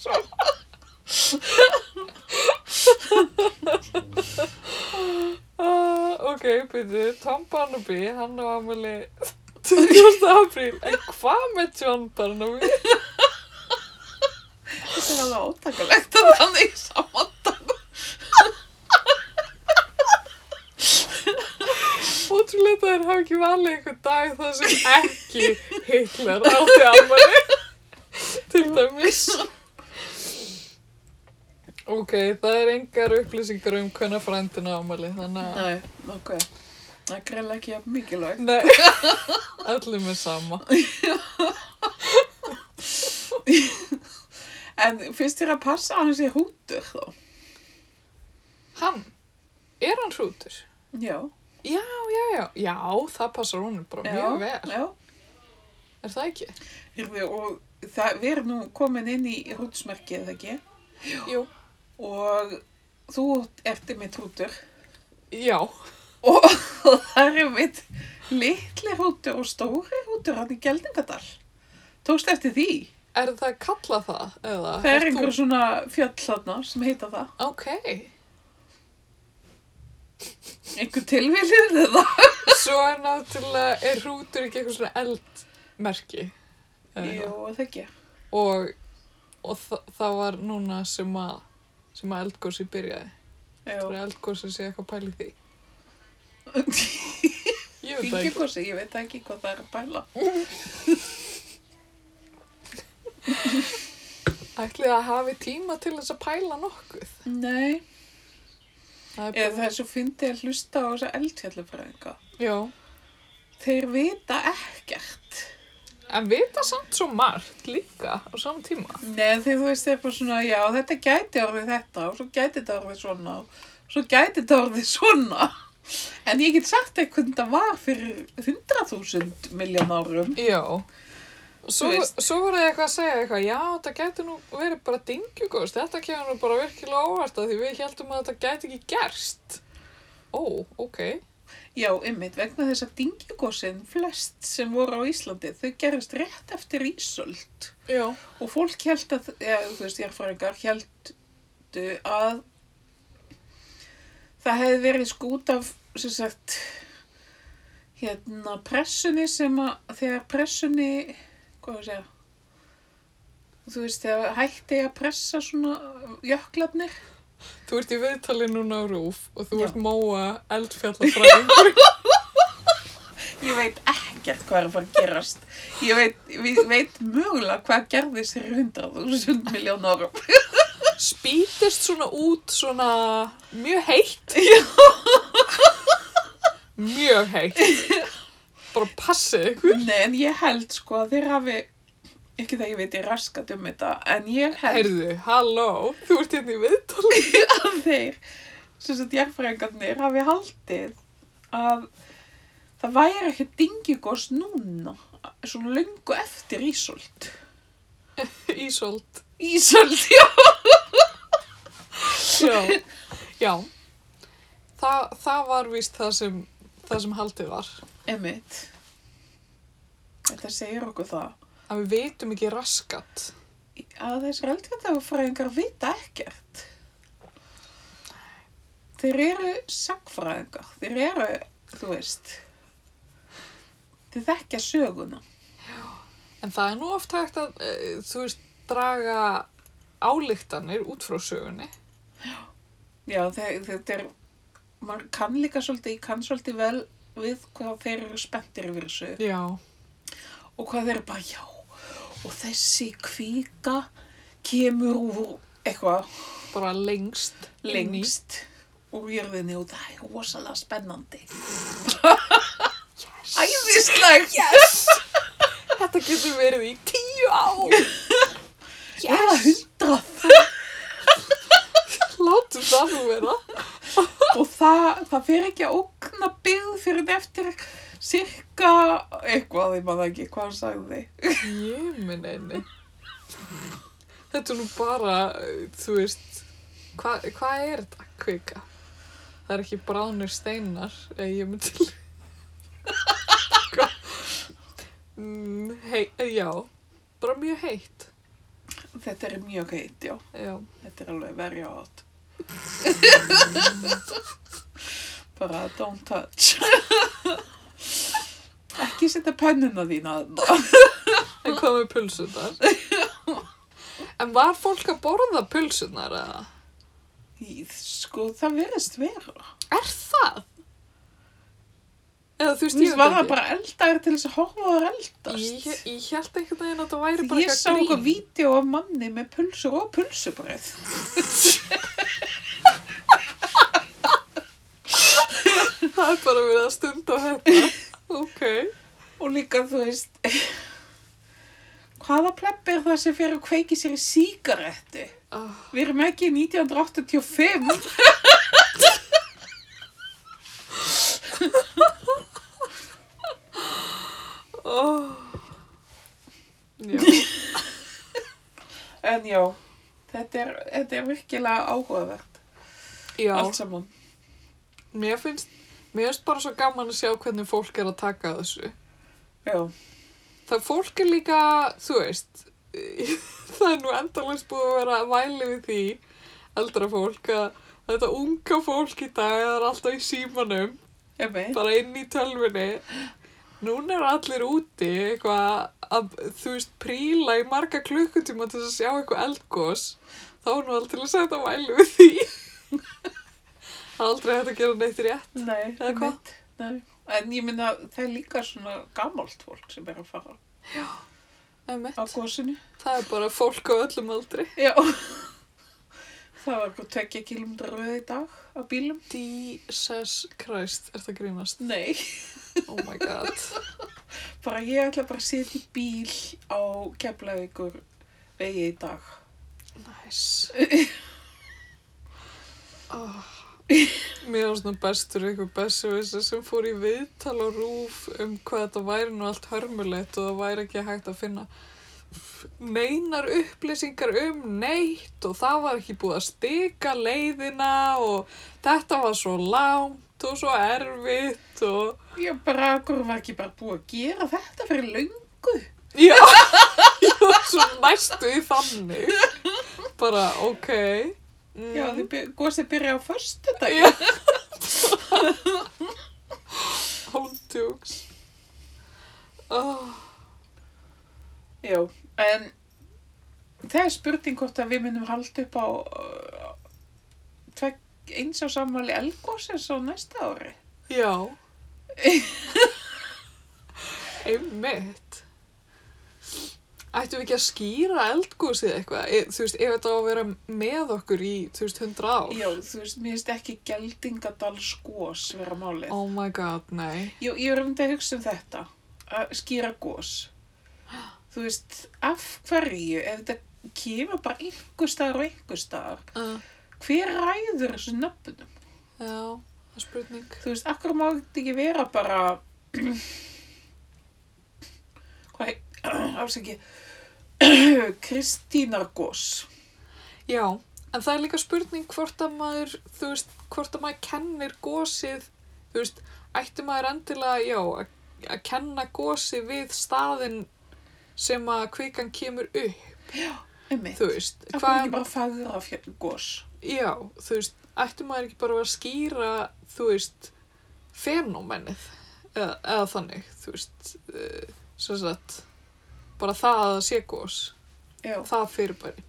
S1: svona. Ah, ok, byrju, Tom Barnaby, hann á ammali 20. apríl, en hvað með John Barnaby?
S2: Þetta er alveg ótakalegt að hann er saman dag.
S1: Ótrúlega það er hafa ekki valið einhvern dag þar sem ekki Hitler átti afmæli til dæmis. Ok, það er engar upplýsingar um hvenna frændin á afmæli, þannig að
S2: Nei, ok. Það er greinlega ekki jafn mikilvægt.
S1: Nei, öllum er sama.
S2: En finnst þér að passa að hann sé hútur þá?
S1: Hann, er hann hrútur?
S2: Já.
S1: Já, já, já, já, það passar honum bara mjög vel.
S2: Já.
S1: Er það ekki?
S2: Hérðu, og það, við erum nú komin inn í hrútsmerkið, eða ekki?
S1: Jú.
S2: Og þú erti mitt hútur.
S1: Já,
S2: Og það er mitt litli hútur og stóri hútur hann í Geldingadal. Tókst eftir því?
S1: er það kallað það? Eða,
S2: Það er
S1: ert þú-
S2: einhver svona fjöll þarna sem heita það.
S1: Ok,
S2: Einhver tilviljið eða?
S1: svo er náttúrulega, er hrútur ekki eitthvað svona eldmerki? Eða
S2: Jú, það ekki.
S1: eitthvað? Og, og þa það var núna sem að, sem að eldgósi byrjaði.
S2: Já.
S1: Það er eldgósi sé eitthvað pæli því. Ég veit það ekki.
S2: Fingurkosi, ég veit ekki hvað það er að bæla.
S1: Ætlið að hafi tíma til þess að pæla nokkuð.
S2: Nei.
S1: Það er
S2: Eða það
S1: bara...
S2: er svo fyndið að hlusta á þessa eldfjallafræðinga.
S1: Já.
S2: Þeir vita ekkert.
S1: En vita samt svo margt líka á saman tíma.
S2: Nei, þegar þú veist þeir bara svona, já, þetta gæti orðið þetta og svo gæti þetta orðið svona og svo gæti þetta orðið svona. En ég get sagt þér hvernig það var fyrir 100.000 miljón árum.
S1: Já. Svo,
S2: Þú veist.
S1: svo voru þið eitthvað að segja eitthvað, já, þetta getur nú verið bara dingjugóst, þetta kemur nú bara virkilega óvart að því við heldum að þetta gæti ekki gerst. Ó, ok.
S2: Já, ymmit, vegna þess að dingjugosin flest sem voru á Íslandi, þau gerist rétt eftir Ísöld.
S1: Já.
S2: Og fólk held að, eða, þú veist, jarðfræðingar heldu að það hefði verið skút af, sem sagt, hérna, pressunni sem að, þegar pressunni, hvað á ég að segja, þú veist, þegar hætti að pressa svona jöklarnir.
S1: Þú ert í viðtali núna á Rúf og þú
S2: Já.
S1: ert móa eldfjallafræðingur.
S2: Ég veit ekkert hvað er að fara að gerast. Ég veit, við veit mögulega hvað gerðist fyrir hundrað þúsund miljón árum.
S1: Spýtist svona út svona mjög heitt. mjög heitt. Bara passið ykkur.
S2: Nei, en ég held sko að þeir hafi, ekki það ég veit ég raskat um þetta, en ég held
S1: Heyrðu, halló, þú ert hérna í viðtali.
S2: að þeir, sem sagt jarðfræðingarnir, hafi haldið að það væri ekki dingjugos núna, svona löngu eftir Ísolt.
S1: Ísolt.
S2: Ísolt, já.
S1: Já. Já. Þa, það var víst það sem, það sem haldið var.
S2: Emmitt. Þetta segir okkur það,
S1: Að við veitum ekki raskat.
S2: að þessir eldfjöndafræðingar vita ekkert. Þeir eru sagfræðingar, þeir eru, þú veist, þeir þekkja söguna.
S1: En það er nú oft hægt að, eh, þú veist, draga álíktanir út frá sögunni.
S2: Já, þe- þetta er, maður kann líka svolítið, ég kann svolítið vel við hvað þeir eru spenntir yfir þessu
S1: Já.
S2: og hvað þeir eru bara, já, og þessi kvíka kemur úr eitthvað
S1: Bara lengst. inn í.
S2: lengst úr jörðinni og það er rosalega spennandi.
S1: Yes.
S2: Æðislegt!
S1: Yes! Þetta getur verið í tíu ár.
S2: Eða
S1: Yes!
S2: hundrað!
S1: Látum það nú vera.
S2: og það, það fer ekki að ógna byggð fyrir þetta eftir cirka eitthvað, ég maður ekki hvað hann sagði.
S1: Ég minn einu. Þetta er nú bara, uh, þú veist, hva- hvað er þetta kvika? Það er ekki bráðnir steinar, eða ég myndi til. Hva- Mm, hei, já, bara mjög heitt.
S2: Þetta er mjög heitt, já.
S1: Já,
S2: Þetta er alveg verja átt. Bara don't touch. ekki setja pennuna þína þarna.
S1: en hvað með pulsunar? En var fólk að borða pulsunar eða?
S2: Í- Sko, það verðist vera.
S1: Er það? Eða þú veist,
S2: Þú
S1: ég
S2: veist, var það bara eldar til þess að horfa á þær
S1: Ég,
S2: eldast.
S1: ég held einhvern veginn að það væri bara
S2: Ég sá eitthvað vídeo af manni með pulsur og pulsubröð.
S1: Það það er bara verið að stunda þetta. Ok.
S2: Og líka, þú veist, hvaða plepp er það sem fer að kveiki sér í sígarettu?
S1: Oh,
S2: Við erum ekki í 1985.
S1: oh. Já.
S2: En já, þetta er, þetta er virkilega áhugavert.
S1: Já,
S2: Allt saman.
S1: mér finnst, mér finnst bara svo gaman að sjá hvernig fólk er að taka þessu.
S2: Já,
S1: Það fólk er líka, þú veist, það er nú endalins búið að vera að væli við því, eldra fólk, að þetta unga fólk í dag það er alltaf í símanum,
S2: ég veit.
S1: bara inn í tölvunni. Núna eru allir úti eitthvað að, þú veist, príla í marga klukkutíma til þess að sjá eitthvað eldgós. Þá er nú aldrei að setja að væli við því. Það er aldrei hægt að gera neitt rétt.
S2: Nei,
S1: Eða hvað?
S2: einmitt. Nei. En ég minna, það er líka svona gamalt fólk sem er að fara á
S1: Einmitt.
S2: gósinu.
S1: Það er bara fólk á öllum aldri.
S2: Já. Það var eitthvað tvekja kilómetra röð í dag á bílum.
S1: Jesus Christ, er það grínast?
S2: Nei.
S1: Oh my god.
S2: Bara ég ætla bara að sitja í bíl á keflavíkur vegi í dag.
S1: Næs. Oh. Mér var svona bestur eitthvað bestsefissi sem fór í viðtal og rúf um hvað þetta væri nú allt hörmulegt og það væri ekki hægt að finna neinar upplýsingar um neitt og það var ekki búið að stika leiðina og þetta var svo langt og svo erfitt og...
S2: Ég bara, okkur var ekki bara búið að gera þetta fyrir löngu.
S1: Já, ég var svo næstu í þannig. Bara, ok. Mm.
S2: Já, þið byr, gósið byrja á förstu dag.
S1: Já. Hóndjúks. Oh,
S2: Já, en það er spurning hvort að við munum halda upp á uh, tvek, eins og sammali elgósins á næsta ári.
S1: já. Einmitt. Ættum við ekki að skýra eldgósið eitthvað? E, þú veist, ef þetta á að vera með okkur í, þú veist, 100 ár.
S2: Já, þú veist, mér finnst ekki geldingadalsgós vera málið.
S1: Oh my god, nei.
S2: Jú, ég er um þetta að hugsa um þetta, að skýra gós. Þú veist, af hverju, ef þetta kemur bara einhver staðar og einhver staðar,
S1: Uh,
S2: hver ræður þessu nöfnum?
S1: já, það er spurning.
S2: Þú veist, akkur má þetta ekki vera bara, hvað heit, afsaki, Kristínar gós.
S1: Já, en það er líka spurning hvort að maður, þú veist, hvort að maður kennir gósið, þú veist, ætti maður endilega, já, að- að kenna gósið við staðin sem að kvikan kemur upp,
S2: Einmitt,
S1: þú veist,
S2: af hverju ekki
S1: hvað,
S2: bara fagra gós?
S1: já, þú veist, ætti maður ekki bara að vera að skýra, þú veist, fenómenið, eða, eða þannig, þú veist, uh, sem sagt, bara það að það sé gós,
S2: Já,
S1: það fyrirbæri.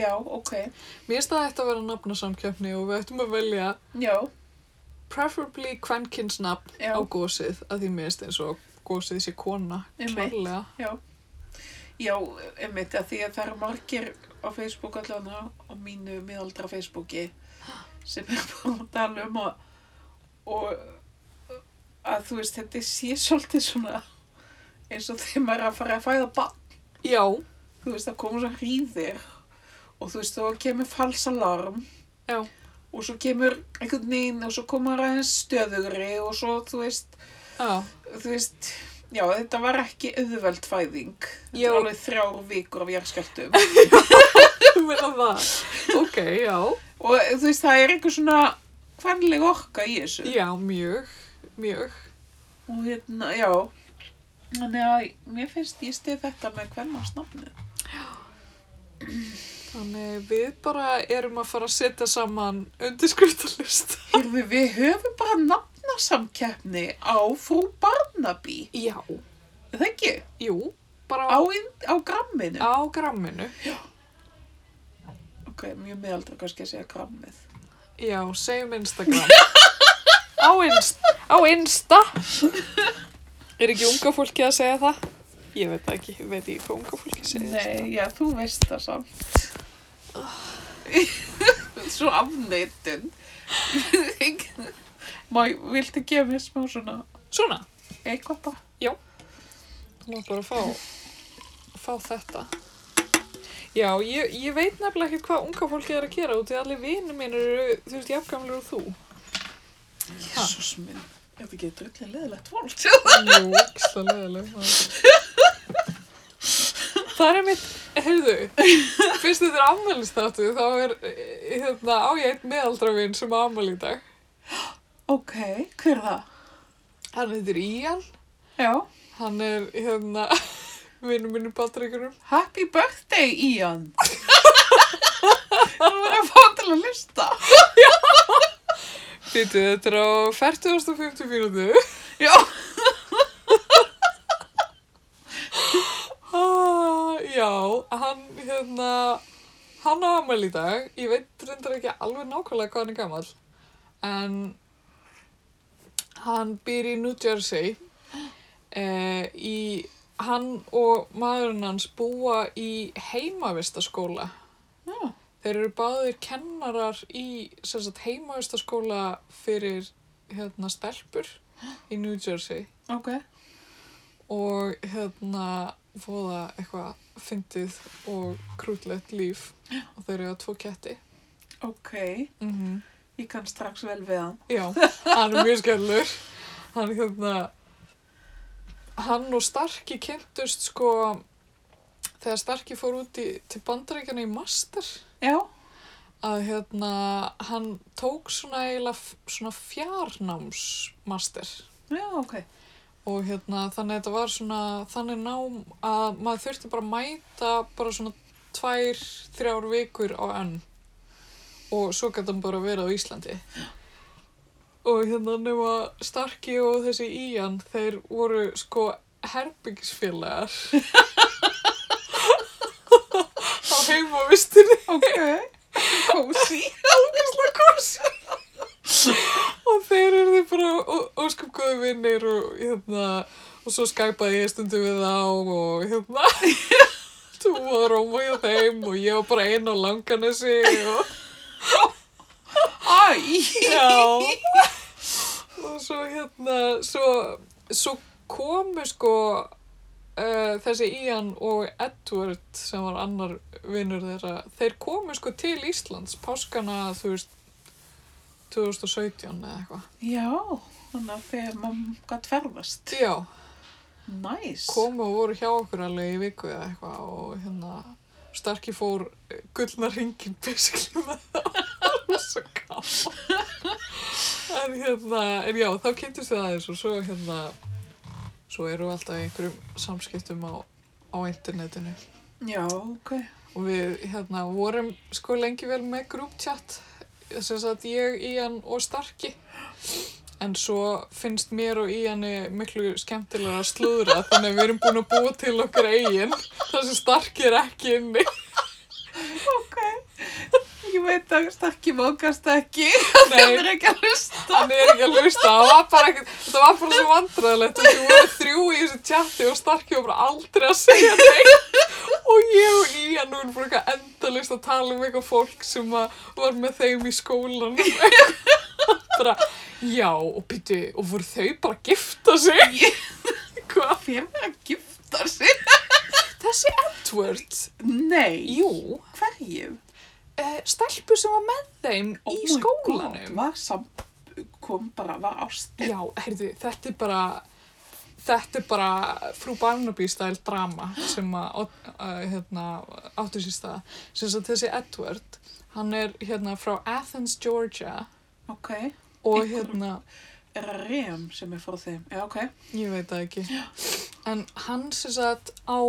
S2: já, ok,
S1: Mér finnst það ætti að vera nafnasamkjöfni og við ættum að velja
S2: já,
S1: preferably kvenkinsnafn
S2: Já.
S1: á gósið að því mér finnst eins og gósið sé kona
S2: Einmitt.
S1: klárlega.
S2: Já, einmitt, að því að það eru margir á Facebook allavega á mínu miðaldra Facebooki sem er bara að tala um og, og að þú veist, þetta sé svolítið svona eins og þegar maður er að fara að fæða bann,
S1: já,
S2: þú veist, það koma svo hríðir og þú veist, þá kemur falsalarm
S1: já,
S2: og svo kemur einhvern veginn og svo koma aðeins stöðugri og svo, þú veist,
S1: já,
S2: þú veist, já, þetta var ekki auðveld fæðing. Þetta
S1: Já.
S2: var alveg þrjár vikur af jarðskjaldum.
S1: þú meina það ok, já,
S2: Og þú veist, það er einhver svona hvernleg orka í þessu.
S1: já, mjög mjög,
S2: Og hérna, já. Þannig að mér finnst ég stið þetta með hvernmarsnafnið.
S1: þannig við bara erum að fara að setja saman undirskriftalist
S2: Hérðu, við höfum bara nafnasamkeppni á frú Barnaby.
S1: já,
S2: Er Það ekki? Á,
S1: jú, bara á,
S2: inn- á gramminu.
S1: á gramminu
S2: Ok, mjög meðaldra kannski að segja grammið.
S1: já, segjum Instagram á, inst, á Insta er ekki unga fólki að segja það? Ég veit það ekki, veit ég hvað unga fólki segir
S2: Nei, já, þú veist það samt. Svo afneitun. Má, viltu gefa mér smá svona
S1: Svona,
S2: eitthvað bara?
S1: þú mátt bara fá, fá þetta. Já, ég, ég veit nefnilega ekkert hvað unga fólkið er að gera út í að allir vinur minn eru, þú veist, jafngamlir og þú.
S2: Jésús minn. Er þetta ekki drullin leðilegt fólk?
S1: Jú, ógislega leðileg maður. Það er mitt, heyrðu, fyrst þetta er afmælistáttu, þá er, eh, hérna, á ég einn meðaldravinn sem á afmæli í dag.
S2: Ok, hver er það?
S1: Hann heitir Ían,
S2: Já.
S1: hann er, hérna, vinnum minni Patrikunum.
S2: Happy birthday, Ian. Þú verður að fá til að lista.
S1: Býtu, þetta er á 40.50 mínútu.
S2: Já.
S1: Ah, já, hann, hérna, hann á afmæli í dag. Ég veit reyndar ekki alveg nákvæmlega hvað hann er gamall. En hann býr í New Jersey. Eh, í, hann og maðurinn hans búa í heimavistaskóla.
S2: Já.
S1: Þeir eru báðir kennarar í sem sagt, heimavistaskóla fyrir hérna, stelpur í New Jersey
S2: Ok.
S1: og hérna fóða eitthvað fyndið og krútlegt líf og þeir eru að tvo ketti.
S2: Ok.
S1: Mm
S2: Ég kann strax vel við hann.
S1: Já, hann er mjög skellur. Hann hérna, hann og Starki kynntust sko þegar Starki fór út í, til bandaríkjana í master
S2: Já.
S1: að hérna, hann tók svona eiginlega f- svona fjarnámsmaster.
S2: Já, ok.
S1: og hérna þannig að þetta var svona þannig nám að maður þurfti bara að mæta bara svona tvær, þrjár vikur á önn og svo gæti hann bara verið á Íslandi og hérna nema Starki og þessi Ían þeir voru sko herbyggisfélagar á heimavistinni
S2: Ok. Cozy.
S1: ógæslega kósi og þeir eru þið bara óskum góði vinnir og hérna og svo skæpaði ég stundum við þá og hérna þú var róma hjá þeim og ég var bara einn á langanessi og
S2: Æ.
S1: já og svo hérna svo, svo komu sko uh, þessi Ian og Edward sem var annar vinnur þeirra þeir komu sko til Íslands páskana þú veist 2017 eða eitthvað
S2: Já. Þannig að þegar mamma gætt ferðast.
S1: já
S2: Næs. Nice.
S1: komu og voru hjá okkur alveg í viku eða eitthvað og hérna Starki fór gullna ringin basically með það það var svo gaman en hérna, en já, þá kynntist við aðeins og svo hérna svo eru við alltaf í einhverjum samskiptum á, á internetinu
S2: Já, ok.
S1: og við hérna vorum sko lengi vel með grúptjatt sem sagt ég, Ían og Starki en svo finnst mér og Íani miklu skemmtilega að slúðra þannig að við erum búin að búa til okkar eigin þar sem Starki er ekki inni
S2: Ok. Ég veit að stakki mókast ekki.
S1: Nei.
S2: Nei. Það er ekki að hlusta.
S1: hann er ekki að hlusta, það var bara ekkert þetta var bara svo vandræðilegt og þú voru þrjú í þessu chatti og Starki var bara aldrei að segja neitt og ég og Ían nú erum bara eitthvað endalist að tala um eitthvað fólk sem að var með þeim í skólan bara, já og býtu, og voru þau bara að gifta sig hvað,
S2: Fyrir að gifta sig.
S1: þessi Edward
S2: Nei.
S1: jú,
S2: Hverju?
S1: uh, stelpu sem var með þeim
S2: Oh
S1: í
S2: my God,
S1: skólanum
S2: Var samt, kom bara, var ástinn.
S1: Já, heyrðu, þetta er bara þetta er bara frú Barnaby stæl drama sem að, að hérna, áttu sér stað sem þess að þessi Edward hann er hérna frá Athens, Georgia
S2: Ok.
S1: og
S2: Einhver-
S1: hérna,
S2: Er það rem sem er frá þeim? Já, ok.
S1: ég veit það ekki en hann sem sagt á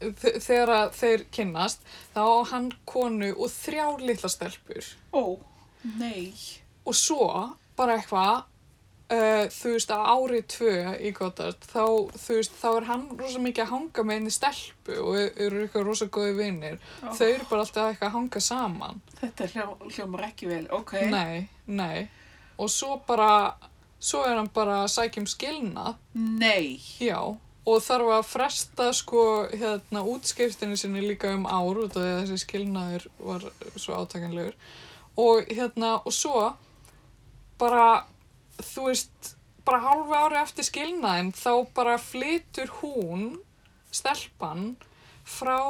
S1: þe- þegar að þeir kynnast þá á hann konu og þrjá litla stelpur
S2: Ó, nei.
S1: og svo bara eitthvað uh, þú veist að árið tvö í Goddard þá, þú veist, þá er hann rosa mikið að hanga með einni stelpu og eru eitthvað rosa góði vinnir
S2: Ó,
S1: þau eru bara alltaf eitthvað að hanga saman
S2: Þetta hljó, hljómar ekki vel. Ok.
S1: nei, nei og svo bara, svo er hann bara að sækja um skilnað
S2: Nei.
S1: já og þarf að fresta sko hérna útskiptinu sinni líka um ár út af því að þessi skilnaður var svo átakanlegur og hérna og svo bara þú veist, bara hálfu ári eftir skilnaðin þá bara flytur hún, stelpan, frá,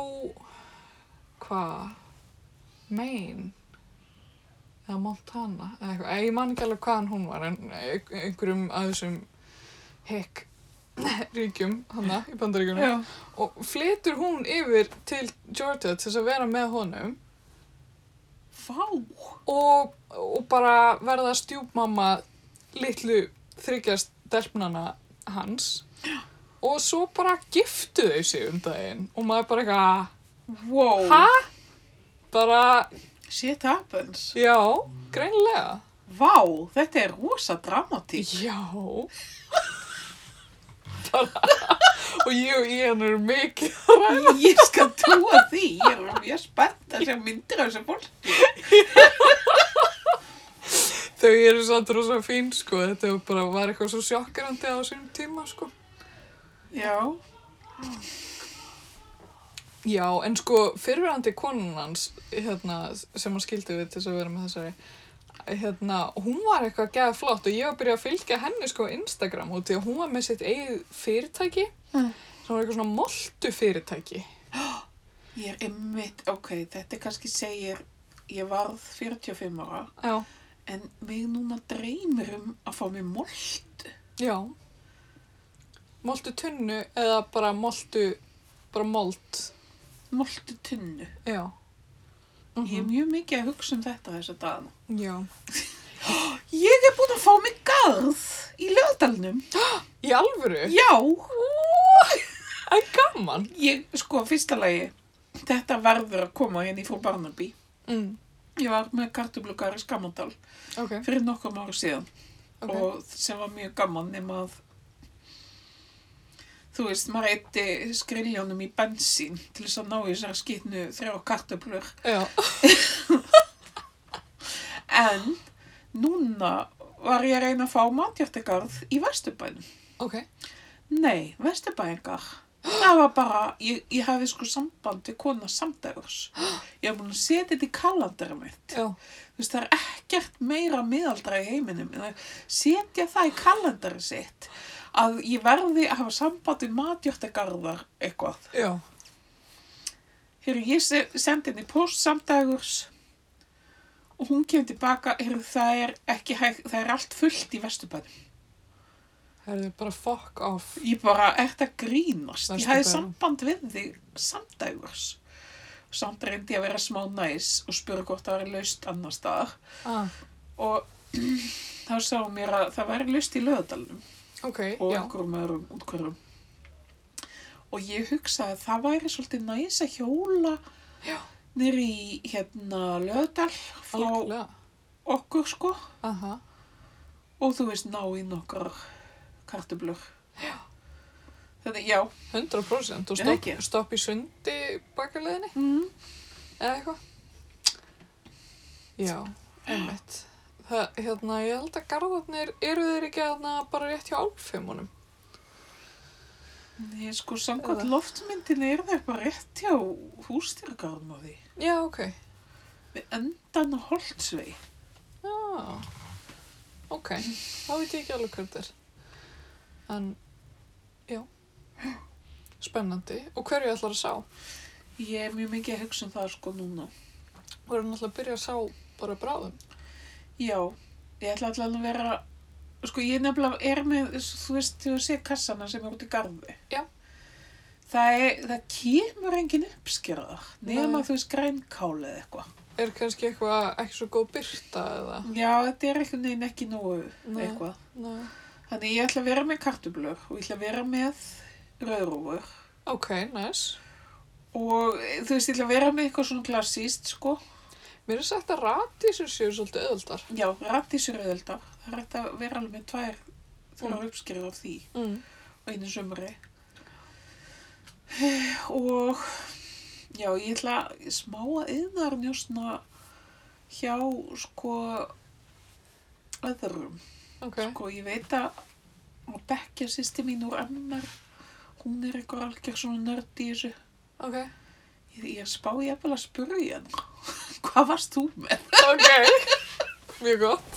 S1: hvað, Maine eða Montana eða eitthvað, Eh, ég man ekki alveg hvaðan hún var en ein- einhverjum að þessum hekk ríkjum hana í bandaríkjunum
S2: Já.
S1: og flytur hún yfir til Georgia til þess að vera með honum
S2: Vá.
S1: og, og bara verða stjúpmamma litlu þryggjast delpnana hans og svo bara giftu þau sig um daginn og maður bara eitthvað
S2: Wow.
S1: hæ? bara,
S2: Shit happens.
S1: já, greinlega
S2: Vá, þetta er rosa dramatík.
S1: já bara og ég og Ian eru mikið
S2: Ég skal trúa því. Ég er mjög spennt að sjá myndir af þessu fólki.
S1: þau eru samt rosa fín sko þetta var bara var eitthvað svo sjokkrandi á sínum tíma sko
S2: Já.
S1: Já, en sko, fyrirverandi konun hans, hérna, sem hann skildi við til þess að vera með þessari, hérna, hún var eitthvað geða flott og ég var að byrja að fylgja henni sko á Instagram út því að hún var með sitt eigið fyrirtæki,
S2: Mm.
S1: sem var eitthvað svona moltu fyrirtæki.
S2: Ég er ymmit, ok, þetta kannski segir, ég varð 45 ára,
S1: Já.
S2: en mig núna dreymir um að fá mér moltu.
S1: Já. Moltu tunnu eða bara moltu, bara molt,
S2: Moltu tunnu.
S1: já. Mm
S2: Ég er mjög mikið að hugsa um þetta þessa dagana.
S1: Já.
S2: Ég er búin að fá mig garð í lögadalnum.
S1: Í alvöru?
S2: Já,
S1: En gaman.
S2: ég, sko, fyrsta lagi, þetta verður að koma hérna í frú Barnaby.
S1: Mm.
S2: Ég var með kartublugar í Skamandal
S1: Ok,
S2: fyrir nokkrum ára síðan.
S1: ok.
S2: og sem var mjög gaman nema að þú veist, maður eitti skriljónum í bensín til þess að ná í þessar skitnu þrjá kartöflur
S1: Já.
S2: en núna var ég að reyna að fá matjartegarð í Vesturbænum
S1: Ok.
S2: nei, Vesturbæningar það var bara, ég, ég hefði sko samband við kona samdægurs ég hef búin að setja þetta í kalandara mitt
S1: Já.
S2: þú veist, það er ekkert meira miðaldra í heiminum en að setja það í kalendari sitt að ég verði að hafa samband við matjórtagarðar eitthvað.
S1: Já.
S2: Hér ég se- sendi henni post samdagurs og hún kemur tilbaka, hér það er ekki hægt, það er allt fullt í vesturbænum.
S1: Það er bara fuck off.
S2: Ég bara, er þetta grínast? Ég hefði
S1: Vesturbænum.
S2: samband við þig samdagurs. Samt reyndi ég að vera smá næs og spura hvort það var laust annar staðar
S1: Ah,
S2: og þá sá hún mér að það væri laust í lögadalunum.
S1: ok,
S2: og
S1: já.
S2: einhverjum öðrum útkvörum. Og ég hugsaði að það væri svolítið næs að hjóla
S1: Já.
S2: nýri í hérna löðdal frá
S1: Algjörlega.
S2: okkur sko
S1: Aha.
S2: og þú veist ná í nokkar kartublur. Þetta, já,
S1: 100% og
S2: Já,
S1: stopp,
S2: ekki.
S1: stopp í sundi bakaleiðinni
S2: mm,
S1: eða eitthvað. Já, einmitt. Það, hérna, ég held að garðarnir eru þeir ekki hérna bara rétt hjá álfimunum.
S2: ég sko samkvæmt
S1: Eða?
S2: loftmyndinni er það bara rétt hjá hústýrgarðum á því.
S1: Já, ok.
S2: Við endan á Holtsvei.
S1: Já, ok. Þá veit ég ekki alveg hvað þetta er. En, já. Spennandi. Og hverju ætlar að sá?
S2: Ég er mjög mikið að hugsa um það sko núna.
S1: Þú erum alltaf að byrja að sá bara bráðum.
S2: Já, ég ætla allan að vera, sko ég nefnilega er með, þú veist, þú sé kassana sem er út í garði.
S1: Já.
S2: Það, er, það kemur engin uppskjörða, nema
S1: Nei.
S2: þú veist grænkál eða eitthvað.
S1: Er kannski eitthvað ekki svo góð byrta eða?
S2: Já, þetta er einhvern veginn ekki nógu
S1: Mm. Nei.
S2: eitthvað.
S1: Nei.
S2: Þannig ég ætla að vera með kartublur og ég ætla að vera með rauðrúfur
S1: Ok, nice.
S2: og eh, þú veist, ég ætla að vera með eitthvað svona klassíst, sko.
S1: Mér er sagt að radísur séu svolítið öðuldar.
S2: Já, rattísur auðvöldar, það er hægt að vera alveg með tvær, þrjá
S1: Mm.
S2: uppskjörða af því.
S1: Mm.
S2: á einu sömri og já, ég ætla smá að yðnar njósna hjá sko öðrum
S1: Ok,
S2: sko, ég veit að að bekkja sýsti mín úr MR hún er eitthvað algjör svona nörd í þessu
S1: ok.
S2: ég, ég spá ég eftir að spurja hann hvað varst þú með?
S1: Ok, mjög gott.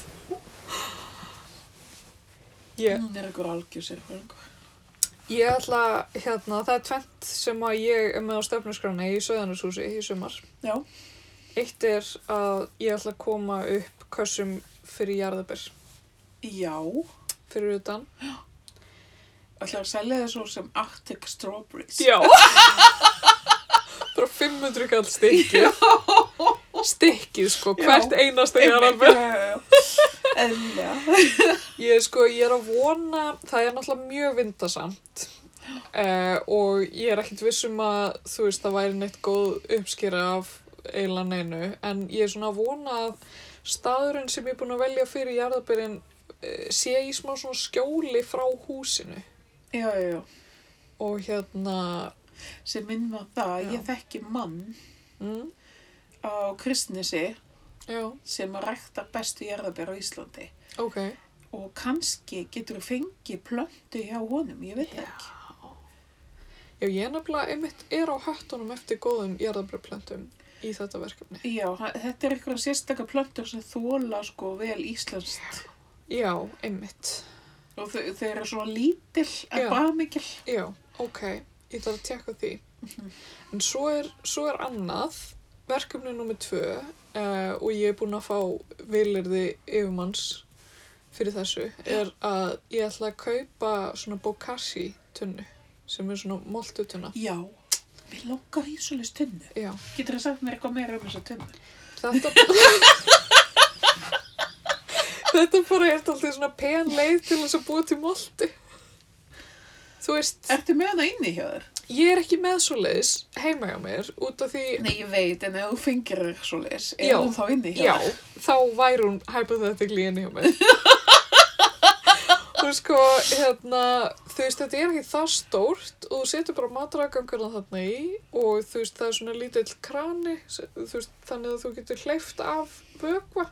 S1: Ég,
S2: Hún er ykkur algjör sérfræðingur.
S1: ég ætla, hérna, það er tvent sem að ég er með á stefnusgrána í Söðanarshúsi í sumar.
S2: Já.
S1: Eitt er að ég ætla að koma upp kössum fyrir jarðabir,
S2: Já.
S1: fyrir utan.
S2: Ætlar að selja það svo sem Arctic Strawberries.
S1: Já. Bara 500 kall stykki. Stykki, sko,
S2: Já.
S1: hvert einasta jarðabir.
S2: alveg. Eðlilega.
S1: Ég, sko, ég er að vona, það er náttúrulega mjög vindasamt uh, og ég er ekkert viss um að þú veist það væri neitt góð uppskýra af eiginlega neinu en ég er svona að vona að staðurinn sem ég er búin að velja fyrir jarðabyrinn uh, sé í smá svona skjóli frá húsinu
S2: Já, já, já.
S1: og hérna,
S2: Sem minnum á það,
S1: Já.
S2: ég þekki mann
S1: mm,
S2: á Kristnesi
S1: já,
S2: sem ræktar bestu jarðabér á Íslandi.
S1: ok.
S2: Og kannski getur þú fengið plöntu hjá honum, ég veit það ekki.
S1: Já, ég er nefnilega einmitt er á höttunum eftir góðum jarðabyrplöntum í þetta verkefni.
S2: Já, hann- þetta er eitthvað sérstakar plöntur sem þóla sko vel íslenskt.
S1: Já, einmitt.
S2: Og þau, þau eru svona lítil
S1: Já.
S2: en bara mikil.
S1: Já, ok, ég þarf að tjekka því. En svo er, svo er annað, verkefni nummer tvö uh, og ég er búin að fá vilirði yfirmanns fyrir þessu, er að ég ætla að kaupa svona bokashi tunnu sem er svona moltutunna.
S2: Já, við langar í svoleiðs tunnu.
S1: Já,
S2: Getur það sagt mér eitthvað meira um þessa tunnu?
S1: þetta... þetta bara er alltaf svona pen leið til þess að búa til moltu. Þú veist,
S2: Ertu með hana inni hjá þér?
S1: ég er ekki með svoleiðis heima hjá mér út af því
S2: Nei, ég veit, en ef þú fengir þér svoleiðis,
S1: Já.
S2: er hún þá inni hjá
S1: Já,
S2: þér?
S1: þá væri hún hypothetically inni hjá mér. og sko, hérna, þú veist, þetta er ekki það stórt og þú setur bara matragangurna þarna í og þú veist, það er svona lítill krani, s- þú veist, þannig að þú getur hleyft af vökva.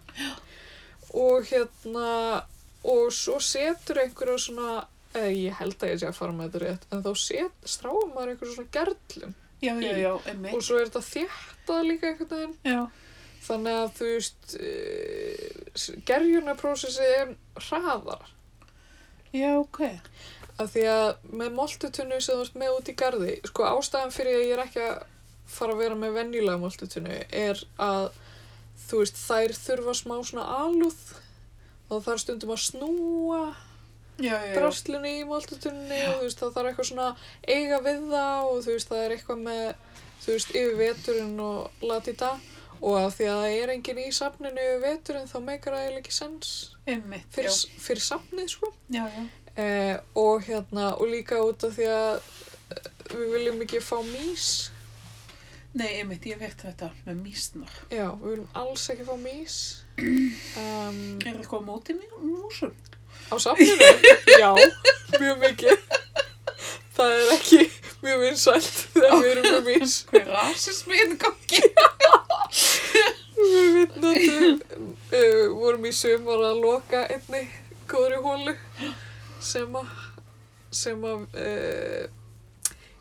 S1: Og hérna, og svo setur einhverja svona, eða ég held að ég sé að fara með þetta rétt, en þá set, stráum maður einhverju svona gerlum
S2: Já, já,
S1: Í.
S2: já, emmi.
S1: og svo er þetta þéttað líka einhvern veginn.
S2: Já,
S1: Þannig að þú veist, uh, gerjunarprósessi er hraðar.
S2: já, ok.
S1: Af því að með moltutunnu sem þú ert með út í garði, sko ástæðan fyrir að ég er ekki að fara að vera með venjulega moltutunnu er að þú veist, þær þurfa smá svona alúð og það er stundum að snúa
S2: Já, já, já.
S1: braslunni í moltutunni og þú veist, það þarf eitthvað svona eiga við það og þú veist, það er eitthvað með, þú veist, yfir veturinn og latita og af því að það er enginn í safninu yfir veturinn þá meikar það eiginlega ekki sens
S2: Emmi, já,
S1: fyrir, fyrir safnið, sko.
S2: já, já.
S1: Eh, og hérna, og líka út af því að eh, við viljum ekki fá mís,
S2: Nei, emmi, ég veit þetta með mísnar.
S1: já, við viljum alls ekki fá mís. Um,
S2: Er eitthvað á móti mig músum?
S1: Á safninu? Já, mjög mikið. Það er ekki mjög vinsælt þegar við erum með mís.
S2: Hvað er rasismi í gangi?
S1: Við vitnatum, uh, vorum í sumar að loka einni góðri hólu sem að, sem að, uh,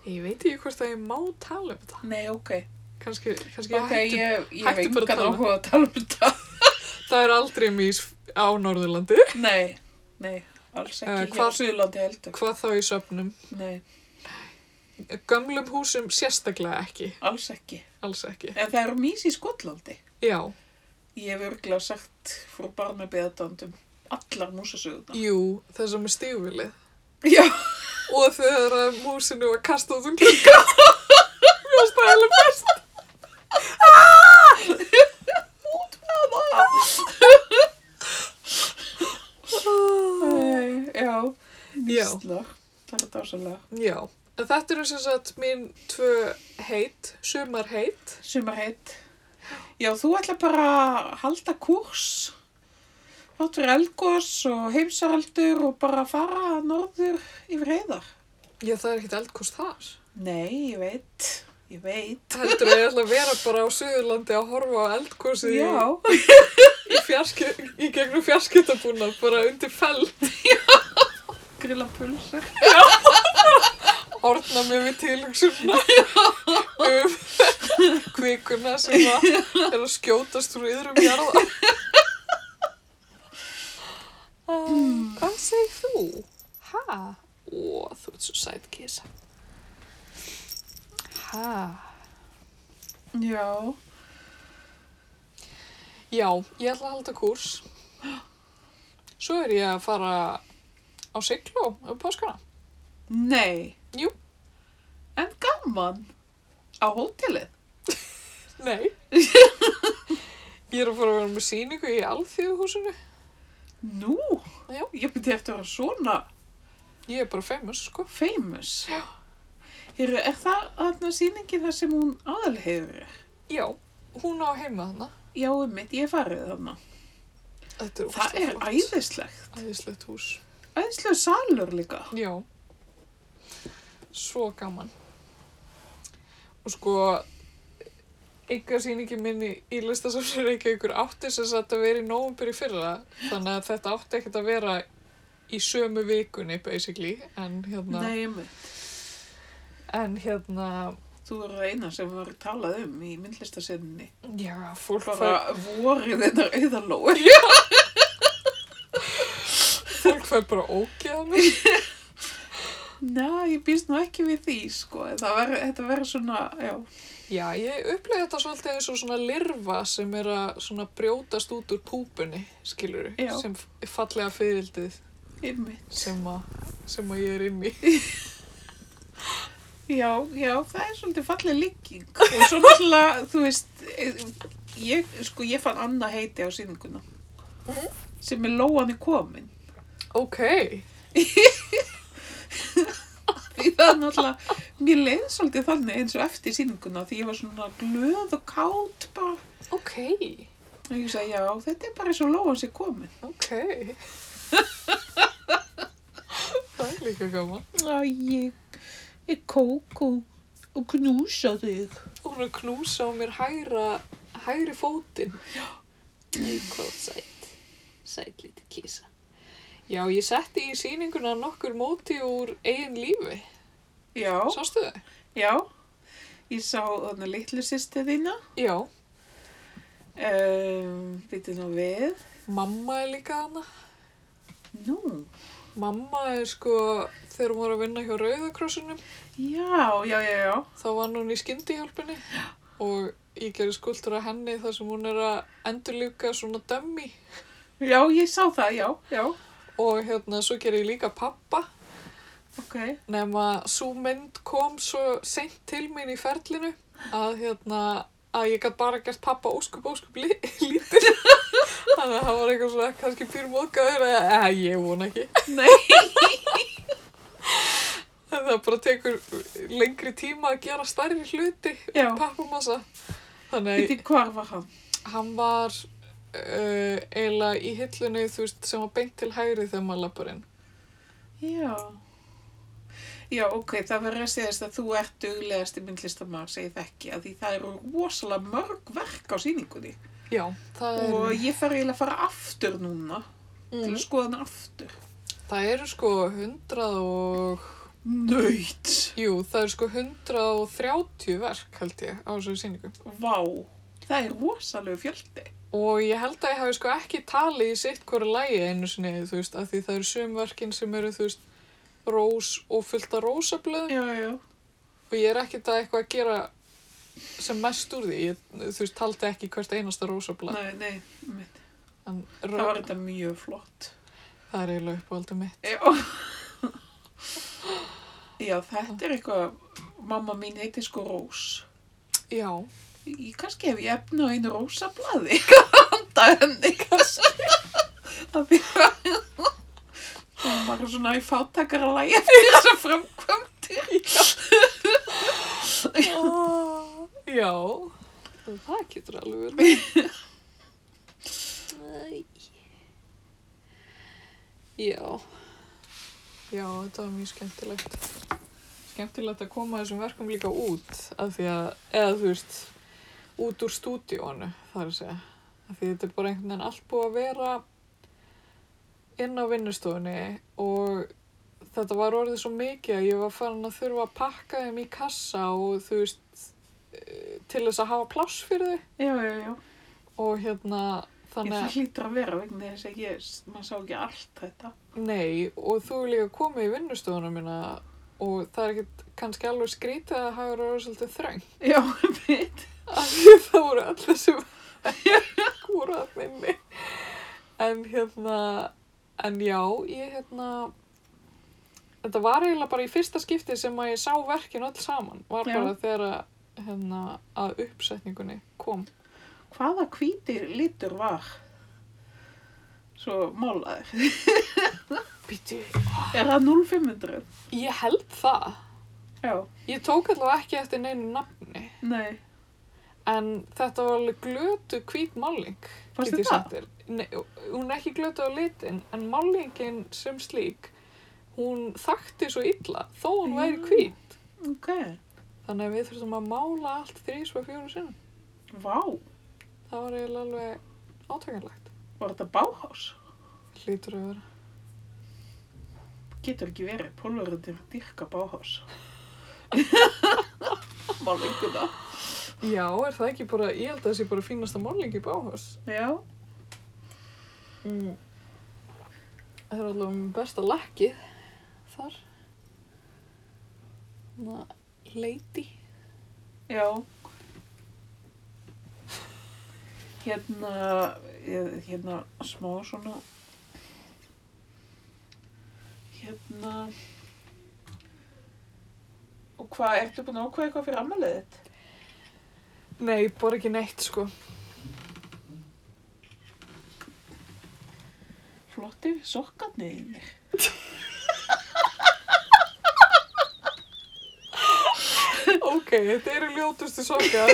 S1: ég veit ekki hvort að ég má tala um þetta.
S2: Nei, ok.
S1: Kannski, kannski
S2: Ok,
S1: hættum-
S2: ég, ég
S1: hættu
S2: hef
S1: bara að
S2: engan
S1: tala.
S2: áhuga að tala um þetta.
S1: Það er aldrei mís á Norðurlandi,
S2: Nei, nei, alls
S1: Eh,
S2: ekki.
S1: hvað-
S2: Hvað Suðurlandi heldur?
S1: hvað þá í söfnum.
S2: Nei,
S1: Gömlum húsum sérstaklega ekki,
S2: alls ekki.
S1: alls ekki.
S2: En það eru mís í Skotlandi.
S1: Já,
S2: Ég hef örglega sagt frá barnabeðdandum allar músasögurnar.
S1: jú, þess að með stífvilið.
S2: Já,
S1: og þegar að músinu var kastað út um klukka mér varst það alveg best
S2: Ah. nei, já,
S1: Já.
S2: mísla. Það er dásalega.
S1: já, en þetta eru sem sagt mín tvö heit, sumar heit
S2: Sumarheit. Já, þú ætla bara að halda kurs. Þáttur elgos og heimsaraldur og bara fara norður yfir heiðar.
S1: já það er ekkert eldkost þar
S2: Nei, ég veit, ég veit.
S1: heldur að ég ætla að vera bara á Suðurlandi að horfa á eldkosið í,
S2: Já,
S1: í, fjarski, í gegnum fjarskiptabúna bara undir fell
S2: grilla pulsar.
S1: orna mig við tilhugsunna um kvikuna sem að er að skjótast úr yðrum jarða. Hvað segir þú? Ó, hæ? Ó, þú ert svo sæt kisa. Hæ?
S2: Já.
S1: Já, ég ætla að halda kurs. Svo er ég að fara á siglu um páskana.
S2: Nei.
S1: Jú.
S2: En gaman. Á hótelið.
S1: Nei. ég er að fara að vera með sýningu í alþjóðhúsinu.
S2: Nú.
S1: Já.
S2: Ég byrði eftir að vera svona
S1: Ég er bara famous, sko.
S2: famous. Já. Heru, er það þarna sýningi þar sem hún aðalhefur er?
S1: Já, hún á heima þarna.
S2: Já, mitt, ég hef farið þarna.
S1: Þetta er
S2: Það er
S1: ógeðslega flott.
S2: æðislegt.
S1: Æðislegt hús.
S2: Æðislega salur líka.
S1: Já. Svo gaman. Og sko, enga sýningi minni í listasafnir Reykjavíkur átti sem sagt að vera í nóvumbur í fyrra. Þannig að þetta átti ekkert að vera í sömu vikunni, basically. En hérna,
S2: Nei, mitt.
S1: en hérna,
S2: Þú er það eina sem var talað um í myndlistasinninni.
S1: já, fólk fær
S2: Bara vorið þetta auðalói.
S1: Fólk fær bara ógeða mér.
S2: Næ, ég býst nú ekki við því, sko. Það Ver, þetta verður svona, já.
S1: Já, ég upplega þetta svolítið eins og svona lirfa sem er að svona brjótast út úr púpunni, skilur
S2: Já.
S1: sem f- fallega fyririldið
S2: Einmitt.
S1: sem, að- sem að ég er inn í.
S2: Já, já, það er svolítið fallið líking. Og svo náttúrulega, þú veist, ég, sko, ég fann annað heiti á sýninguna. Sem er Lóan er komin.
S1: Ok,
S2: Því það er náttúrulega, mér leið svolítið þannig eins og eftir sýninguna. Því ég var svona glöð og kátt bara.
S1: ok,
S2: Og ég sagði, já, þetta er bara eins og Lóan sér komin.
S1: ok. það er líka gaman.
S2: Já, ég, ég kók og, og knúsa þig.
S1: Hún er að knúsa á mér hægra, hægri fótinn. Ég hvað sætt, sætt lítið kísa. Já, ég setti í sýninguna nokkur móti úr eigin lífi.
S2: Já,
S1: Sástu það?
S2: já. Ég sá þarna litlu sýstu þína.
S1: Já,
S2: Um, Býtu nú við.
S1: mamma er líka hana.
S2: Nú.
S1: Mamma er sko, þegar hún var að vinna hjá Rauðakrossunum,
S2: Já, já, já, já.
S1: þá var hún í skyndihjálpunni og ég gerði skuldur að henni þar sem hún er að endurljúka svona dömmi
S2: Já, ég sá það, já, já.
S1: og hérna svo gerði ég líka pappa
S2: Ok.
S1: nema svo mynd kom svo seint til mín í ferlinu að hérna að ég gæti bara gert pappa óskup óskup li lítið þannig að það var eitthvað svona kannski fyrir móðgæður eða eh, ég vona ekki
S2: Nei.
S1: En það bara tekur lengri tíma að gera stærri hluti
S2: Já.
S1: pappamassa. Þannig
S2: Býtu hvar var hann?
S1: að hann var uh, eiginlega í hillunni þú veist, sem var beint til hægri þegar maður lappar inn.
S2: Já. Já, ok, það verður að segja að þú ert duglegasti myndlistamar, segið þekki, að því það eru rosalega mörg verk á sýningunni.
S1: Já, það eru,
S2: Og ég fer eiginlega að fara aftur núna, til að
S1: mm,
S2: skoða hann aftur.
S1: það eru sko 100 og,
S2: Nöyt!
S1: jú, það eru sko 130 verk held ég á þessu sýningu.
S2: Vá, það er rosalega fjöldi.
S1: Og ég held að ég hafi sko ekki talið í sitt hverju lægi einu sinni, þú veist, af því það eru sömverkin sem eru, þú veist, rós og fullt af rósablöðum.
S2: Já, já.
S1: Og ég er ekkert að eitthvað að gera sem mest úr því. Ég, þú veist, taldi ekki hvert einasta rósablað.
S2: Nei, nei, mitt.
S1: En
S2: það var
S1: röð,
S2: þetta mjög flott.
S1: það er eiginlega uppáhaldið mitt.
S2: Já. Já, þetta er eitthvað, mamma mín heiti sko Rós.
S1: Já,
S2: Ég kannski hef ég efni á einu rósablaði. Handa henni kannski. Það því að hún var svona í fátakara lægi fyrir þess að framkvæmdi.
S1: já, það getur alveg verið. Æ. Já, já, þetta var mjög skemmtilegt. Skemmtilegt að koma þessum verkum líka út, af því að, eða þú veist, út úr stúdíónu, þar að segja. Af því þetta er bara einhvern veginn allt búið að vera inn á vinnustofunni og þetta var orðið svo mikið að ég var farin að þurfa að pakka þeim í kassa og þú veist, eh, til þess að hafa pláss fyrir þau
S2: Já, já, já.
S1: og hérna, Þannig
S2: það
S1: að,
S2: hlýtur að vera vegna þess að ég, maður sá ekki allt þetta.
S1: nei, og þú er líka komið í vinnustofuna mína og það er ekkit kannski alveg skrítið að hafa verið svolítið þröng.
S2: Já, mitt.
S1: Af því það voru allir sem voru að minni. En hérna, en já, ég hérna, þetta var eiginlega bara í fyrsta skipti sem að ég sá verkin öll saman. Var
S2: Já.
S1: bara þegar að, hérna, að uppsetningunni kom.
S2: Hvaða hvítir litur var? Svo málaður.
S1: Býtu,
S2: Er það 0500?
S1: ég held það.
S2: Já,
S1: Ég tók allavega ekki eftir neinu nafni,
S2: nei.
S1: en þetta var alveg glötu hvít máling.
S2: Fannst
S1: get
S2: þér
S1: ég
S2: það?
S1: sagt þér. Nei, hún er ekki glötu á litin, en málingin sem slík, hún þakti svo illa, þó hún væri
S2: Já.
S1: hvít.
S2: Ok.
S1: Þannig að við þurfum að mála allt þrís og fjóru sinnum.
S2: Vá,
S1: Það var eiginlega alveg átökanlegt.
S2: var þetta báhás?
S1: Lítur að vera.
S2: Getur ekki verið. Pólverðir dyrka báhás. Málinguna.
S1: Já, er það ekki bara, ég held að það sé bara fínasta máling í báhás.
S2: Já.
S1: Mm. Það er allavega minn besta lakkið þar. Svona lady.
S2: Já. Hérna, eh, hérna, smá svona, hérna, og hvað, ertu búin að ákveða eitthvað fyrir ammælið þitt?
S1: Nei, bara ekki neitt sko.
S2: Flottir sokkarnir þínir.
S1: ok, þetta eru ljótustu sokkar.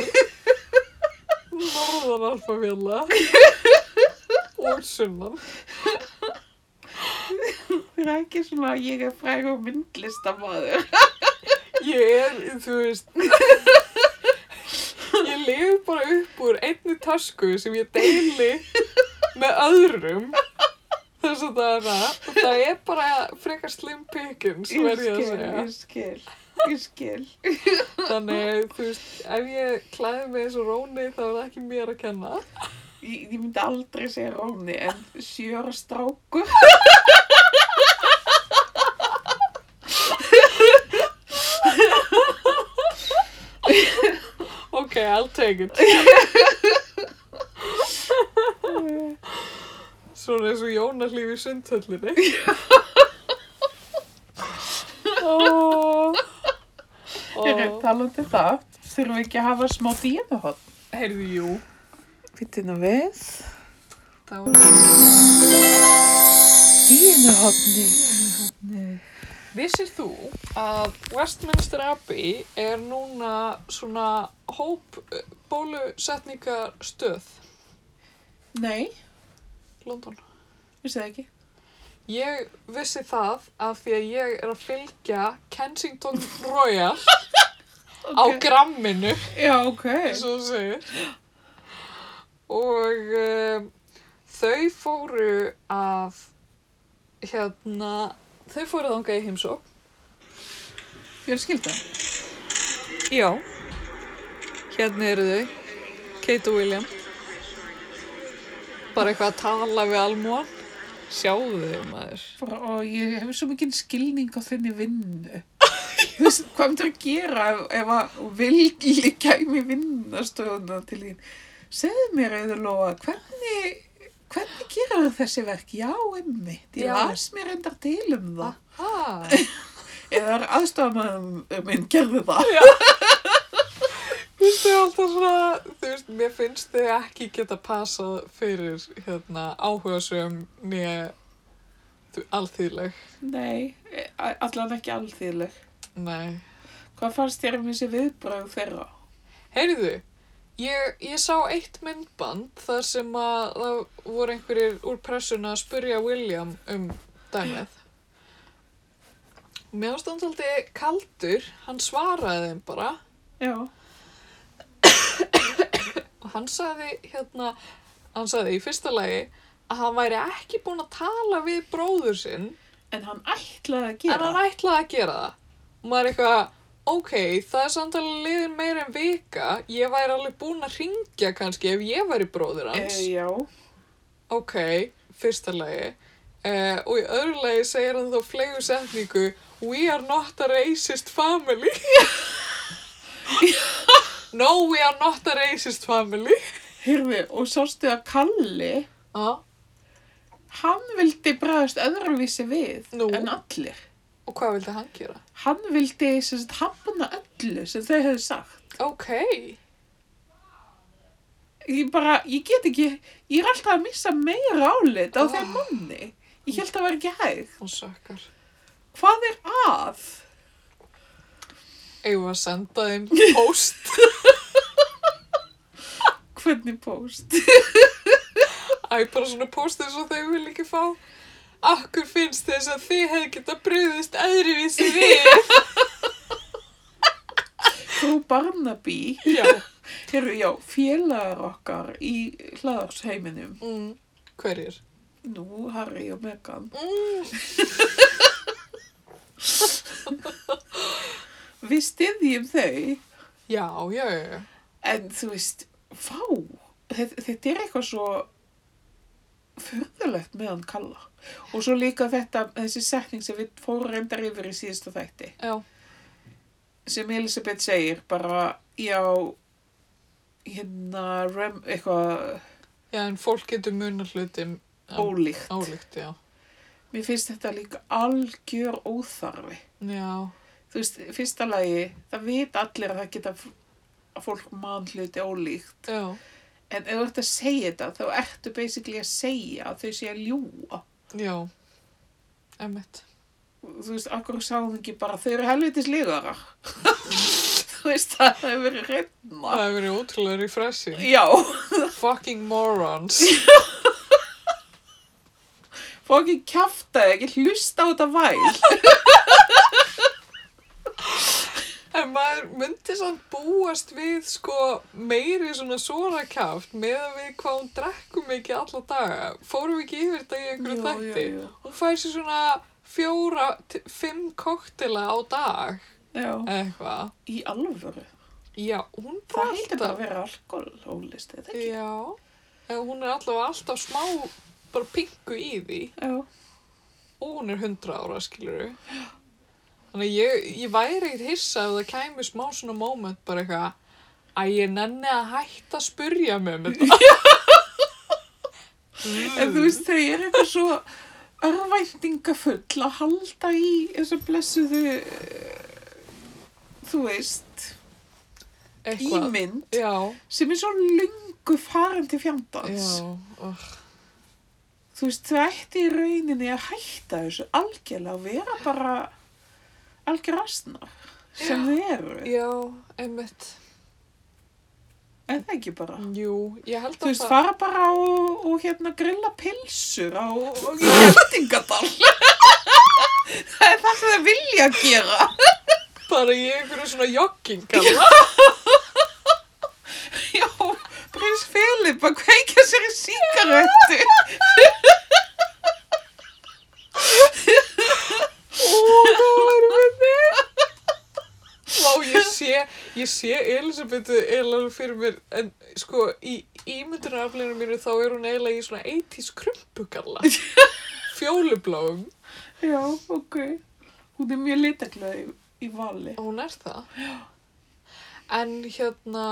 S1: Norðan alfafjalla. Og sunnan.
S2: Það er ekki svona að ég er fræg og myndlistamæður.
S1: Ég er, þú veist... Ég lif bara upp úr einni tasku sem ég deili með öðrum þess að það er það. Það er bara frekar slim pickings, verð ég að segja.
S2: Ég skil, ég skil.
S1: Þannig, þú veist, ef ég klæði mig eins og róni þá er það ekki mér að kenna.
S2: Ég, ég myndi aldrei segja Róni en sjöra strákur.
S1: Ok, I'll take it. Svona eins og Jónarlíf í sundhöllinni. Ó, ó.
S2: Þegar talandi um það, þurfum við ekki að hafa smá díðuhot.
S1: Heyrðu, jú.
S2: Vitið nú við.
S1: Það var...
S2: Díðuhotni.
S1: Vissir þú að Westminster Abbey er núna svona hóp bólusetningarstöð
S2: Nei,
S1: London?
S2: vissi það ekki.
S1: Ég vissi það af því að ég er að fylgja Kensington Royal á gramminu,
S2: Já, ok.
S1: eins og þú segir. Og um, þau fóru að, hérna, þau fóru þangað í heimsók.
S2: Fjölskylda.
S1: Já. Hérna eru þau, Kate og William. Bara eitthvað að tala við almúan. Sjáðu þau maður.
S2: Bara, og ég hef svo mikinn skilning á þenni vinnu. Þú veist, Hvað myndir að gera ef, ef að vilgili kæmi vinnastöðuna til þín? Segðu mér, Eðurlóa, hvernig, hvernig gera þessi verk? Já, einmitt. Ég
S1: Já.
S2: las mér endar til um það.
S1: Aha.
S2: Eða er aðstofamæðum minn gerði það?
S1: Finnst þau alltaf svona, þú veist, mér finnst þau ekki geta passað fyrir hérna áhugasum nýja alþýðleg.
S2: Nei, e- a- allan ekki alþýðleg.
S1: Nei.
S2: Hvað fannst þér um þessi viðbrögð þeirra?
S1: Heyrðu, ég, ég sá eitt myndband þar sem að það voru einhverjir úr pressuna að spurja William um dæmið. Og Mér fannst hann svolítið kaldur, hann svaraði þeim bara
S2: Já.
S1: og hann sagði hérna, hann sagði í fyrsta lagi að hann væri ekki búinn að tala við bróður sinn
S2: En hann ætlaði að gera.
S1: En hann ætlaði að gera það. Og maður er eitthvað, ok, það er samt alveg liðin meira en vika. Ég væri alveg búin að ringja kannski ef ég væri bróður hans.
S2: Eh, já.
S1: ok, fyrsta lagi uh, og í öðru lagi segir hann þá flegu setningu We are not a racist family No, we are not a racist family
S2: Hyrfi, og sástu að Kalli,
S1: ah,
S2: hann vildi bræðast öðruvísi við
S1: Nú.
S2: en allir.
S1: Og hvað vildi hann gera?
S2: Hann vildi sem sagt, hafna öllu sem þau hefðu sagt.
S1: Ok,
S2: Ég bara, ég get ekki, ég er alltaf að missa meira álit á
S1: Oh.
S2: þeim manni. Ég held að vera ekki hægt.
S1: hún sökkar
S2: Hvað er að?
S1: Eigum við að senda þeim post
S2: Hvernig post?
S1: Æ, bara svona postið svo þau vil ekki fá Akkur finnst þess að þið hefði geta brugðist öðruvísi við
S2: Frú Barnaby,
S1: Já
S2: hyrfi, já, félagar okkar í hlaðarsheiminum.
S1: mm. Hverjir?
S2: Nú, Harry og Meghan.
S1: Mm.
S2: Við styðjum þau.
S1: Já, já, já, já
S2: En þú veist, fá, þetta, þetta er eitthvað svo fyrðulegt með hann kalla. Og svo líka þetta, þessi setning sem við fórum reyndar yfir í síðasta þætti,
S1: Já,
S2: sem Elisabeth segir bara, já, hérna, rem, eitthvað
S1: já en fólk getur munar hluti
S2: ólíkt.
S1: Ólíkt, já
S2: Mér finnst þetta líka algjör óþarfi.
S1: Já,
S2: Þú veist, fyrsta lagi, það vit allir að það geta f- að fólk mann hluti ólíkt.
S1: já,
S2: En ef þú ert að segja þetta, þá ertu basically að segja að þau sé að ljúa.
S1: já Emmett
S2: þú veist, akkur sáðum ekki bara þau eru helvitis lígara þú veist, það hefur verið reyna
S1: Það hefur verið ótrúlega refreshing
S2: já,
S1: Fucking morons
S2: fá ekki kjafta ekki hlusta á þetta væl
S1: En maður myndi samt búast við sko meiri svona svona kjáft með að við hvað hún drekkum ekki alla daga. Fórum við ekki yfir þetta í einhverju
S2: Jú, jú,
S1: þætti?
S2: jú.
S1: Hún fær sér svona fjóra, til fimm koktela á dag
S2: já,
S1: eða eitthvað.
S2: í alvöru
S1: Já, hún
S2: það heitir bara
S1: alltaf-
S2: að vera alkoholólist eða ekki
S1: Já, eða hún er allavega alltaf smá bara pingu í því
S2: já,
S1: og hún er hundra ára skiluru. Þannig að ég, ég væri ekkert hissa ef það kæmi smá svona moment bara eitthvað að ég nenni að hætta að spurja mig um þetta. Mm.
S2: en þú veist, þau eru eitthvað svo örvæntingafull að halda í þessu blessuðu eh, þú veist ímynd
S1: Já,
S2: sem er svo lungu farin til fjandans
S1: já, oh,
S2: þú veist, það ætti í rauninni að hætta þessu algjörlega og vera bara algjör asnar sem þið eru,
S1: já, einmitt.
S2: en það ekki bara.
S1: Jú, ég held
S2: Þú
S1: að
S2: veist, fara bara og, og hérna grilla pilsur á Hjöldingadal. það er það sem það vilja að gera.
S1: bara í einhverju svona jogginga.
S2: Já, prins Filip að kveika sér í síkarettu.
S1: Ó, hvað er með þig? Vá, ég sé, ég sé Elisabetu eiginlega fyrir mér, en sko, í ímyndunaraflinu mínu þá er hún eiginlega í svona 80s krumpugalla. Fjólubláum.
S2: Já, ok. Hún er mjög litaklega í, í vali.
S1: Hún er það. En hérna,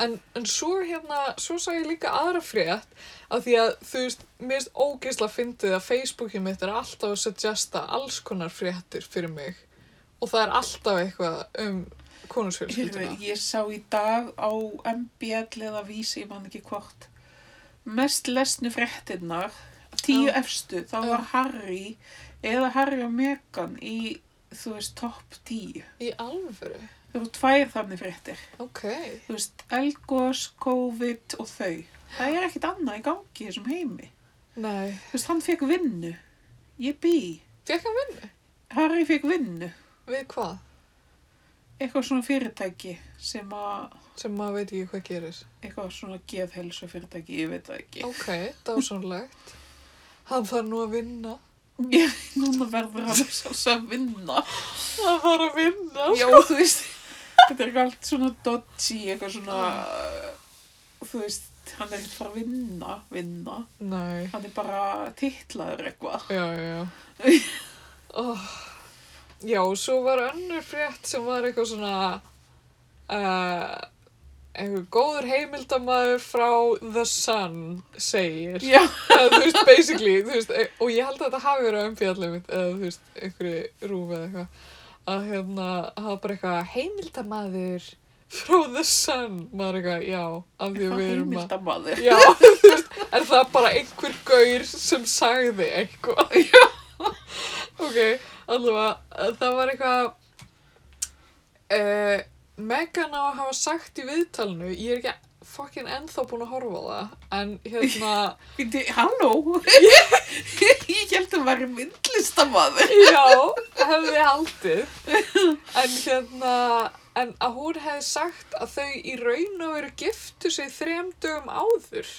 S1: en, en svo hérna, svo sá ég líka aðra frétt, af því að þú veist, mér finnst ógeisla fyndið að Facebookið mitt er alltaf að suggesta alls konar fréttir fyrir mig og það er alltaf eitthvað um konusfjölskylduna.
S2: Ég, ég sá í dag á MBL eða vísi, ég man ekki hvort. Mest lesnu fréttinnar, tíu
S1: Já.
S2: efstu, þá var Harry eða Harry og Meghan í, þú veist, topp tíu.
S1: Í alvöru?
S2: Það eru tvær þannig fréttir.
S1: Ok.
S2: Þú veist, Elgos, COVID og þau. Það er ekkit annað í gangi í þessum heimi.
S1: Nei.
S2: Þú veist, hann fekk vinnu. Ég bý.
S1: Fekk hann vinnu?
S2: Harry fekk vinnu.
S1: Við hvað?
S2: Eitthvað svona fyrirtæki sem að,
S1: Sem maður veit ekki hvað gerir.
S2: eitthvað svona geðhelsu fyrirtæki, ég veit það ekki.
S1: Ok, dásanlegt. Hann þarf nú að vinna.
S2: Ég, núna verður hann sjálfs að vinna. Sko.
S1: Hann þarf að vinna.
S2: Já, þú
S1: Ah.
S2: veist, þetta er eitthvað allt svona dodgy, eitthvað svona, uh, þú veist, neitt, hann er ekkert fara að vinna, vinna.
S1: Nei.
S2: Hann er bara titlaður eitthvað.
S1: Já, já, já. oh. Já, og svo var önnur frétt sem var eitthvað svona uh, einhver góður heimildamaður frá The Sun segir
S2: Já,
S1: Eða, þú veist, basically, þú veist, e- og ég held að þetta hafi verið á umbjallum mitt, eða þú veist, einhverju rúfi eða eitthvað, að hérna, hafa bara eitthvað heimildamaður frá The Sun, maður eitthvað, já, af því að við erum að,
S2: heimildamaður.
S1: já, þú veist, er það bara einhver gaur sem sagði eitthvað, já, ok, allavega, eh, það var eitthvað, uh, Megan á að hafa sagt í viðtalinu, ég er ekki fokkin ennþá búin að horfa á það, en hérna,
S2: Býtti, halló? ég held að hann væri myndlistamaður.
S1: Já, hefði haldið. En hérna, en að hún hefði sagt að þau í raun og veru giftu sig þrem dögum áður.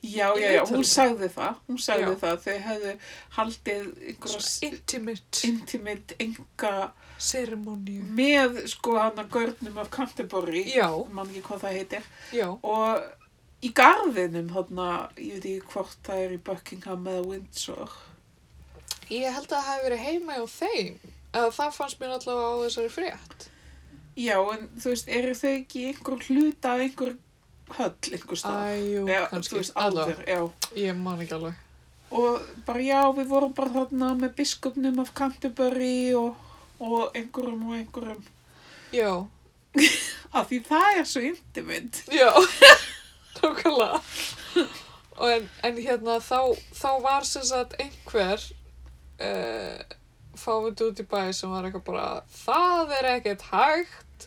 S2: Já,
S1: Í
S2: já, já, hún
S1: viðtölum.
S2: sagði það. Hún sagði
S1: Já.
S2: það. Þau hefðu haldið einhverja
S1: Intimate
S2: intimate enga
S1: ceremony.
S2: með sko hann að görnum af Canterbury.
S1: Já,
S2: Man ekki hvað það heitir.
S1: já,
S2: Og í garðinum, þarna, ég veit ekki hvort það er í Buckingham eða Windsor.
S1: ég held að það hefði verið heima á þeim. Eða það fannst mér allavega á þessari frétt.
S2: Já, en þú veist, eru þau ekki í einhver hluta af einhver höll einhver stað?
S1: Æjú,
S2: já, þú
S1: kannski.
S2: veist,
S1: Allavega,
S2: aldur, já.
S1: ég man ekki alveg.
S2: Og bara já, við vorum bara þarna með biskupnum af Canterbury og, og einhverjum og einhverjum.
S1: Já,
S2: Af því það er svo intimate.
S1: já, nákvæmlega. Og en, en hérna, þá, þá var sem sagt einhver uh, fáið út í bæ sem var eitthvað bara það er ekkert hægt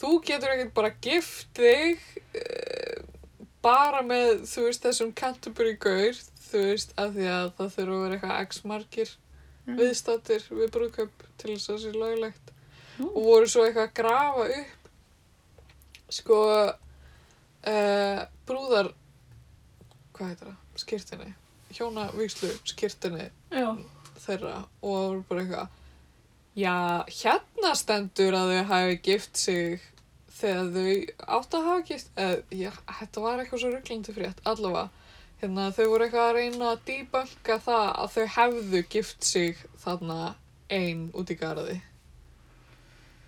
S1: þú getur ekkert bara gift þig uh, bara með þú veist þessum Canterbury gaur þú veist af því að það þurfa að vera eitthvað x margir
S2: Mm.
S1: viðstattir við brúðkaup til þess að það sé löglegt
S2: Nú.
S1: og voru svo eitthvað að grafa upp sko uh, brúðar hvað heitir það? skirtinni hjónavíkslu skirtinni
S2: Já.
S1: þeirra og það voru bara eitthvað já, hérna stendur að þau hafi gift sig þegar þau átt að hafa gift eða, já, þetta var eitthvað svo rugglandi frétt allavega, hérna þau voru eitthvað að reyna að dýbanka það að þau hefðu gift sig þarna ein út í garði